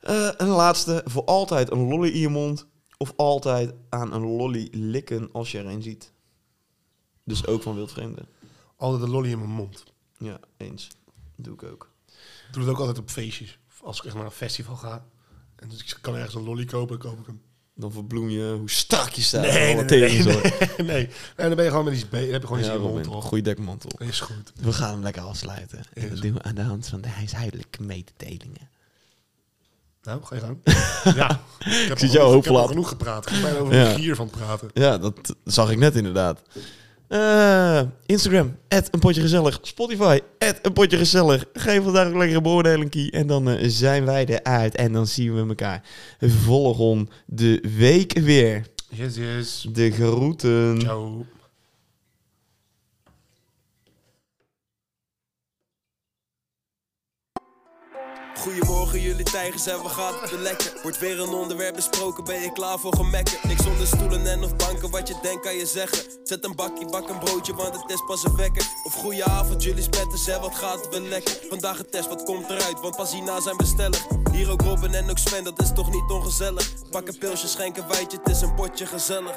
Speaker 2: Eh, en de laatste. Voor altijd een lolly in je mond. Of altijd aan een lolly likken als je er een ziet. Dus ook van wildvreemden.
Speaker 3: Altijd een lolly in mijn mond.
Speaker 2: Ja, eens. Doe ik ook.
Speaker 3: Ik doe het ook altijd op feestjes. Als ik echt naar een festival ga. En dus ik kan ergens een lolly kopen, koop ik hem.
Speaker 2: Dan verbloem je hoe strak je staat.
Speaker 3: Nee,
Speaker 2: Alle
Speaker 3: nee, nee,
Speaker 2: teringzooi.
Speaker 3: nee. En dan ben je gewoon met iets be- dan heb je gewoon iets
Speaker 2: Ja,
Speaker 3: in je mond.
Speaker 2: Robin.
Speaker 3: toch?
Speaker 2: Goeie dekmantel.
Speaker 3: Is goed.
Speaker 2: We gaan hem lekker afsluiten. En dat
Speaker 3: Is
Speaker 2: doen we aan de hand van de huishoudelijke mededelingen.
Speaker 3: Nou, ga je gang. ja. Ik, heb
Speaker 2: zie
Speaker 3: al
Speaker 2: jou hoop
Speaker 3: genoeg- Ik heb al
Speaker 2: plat.
Speaker 3: genoeg gepraat. Ik ben bijna over
Speaker 2: Ja.
Speaker 3: een gier van het praten.
Speaker 2: Ja, dat zag ik net inderdaad. Eh, Instagram, een potje gezellig. Spotify, een potje gezellig. Geef vandaag ook lekker een beoordeling. En dan eh, zijn wij eruit. En dan zien we elkaar volg on de week weer.
Speaker 3: Yes, yes.
Speaker 2: De groeten.
Speaker 3: Ciao.
Speaker 1: Goedemorgen jullie tijgers en we gaan het weer lekker Wordt weer een onderwerp besproken, ben je klaar voor gemekken Niks onder stoelen en of banken, wat je denkt kan je zeggen Zet een bakje, bak een broodje, want het is pas een wekker Of goeie avond jullie spetters en wat gaat het weer lekker Vandaag een test, wat komt eruit, want pas hierna zijn bestellig Hier ook Robin en ook Sven, dat is toch niet ongezellig Pak een pilsje, schenk een wijtje, het is een potje gezellig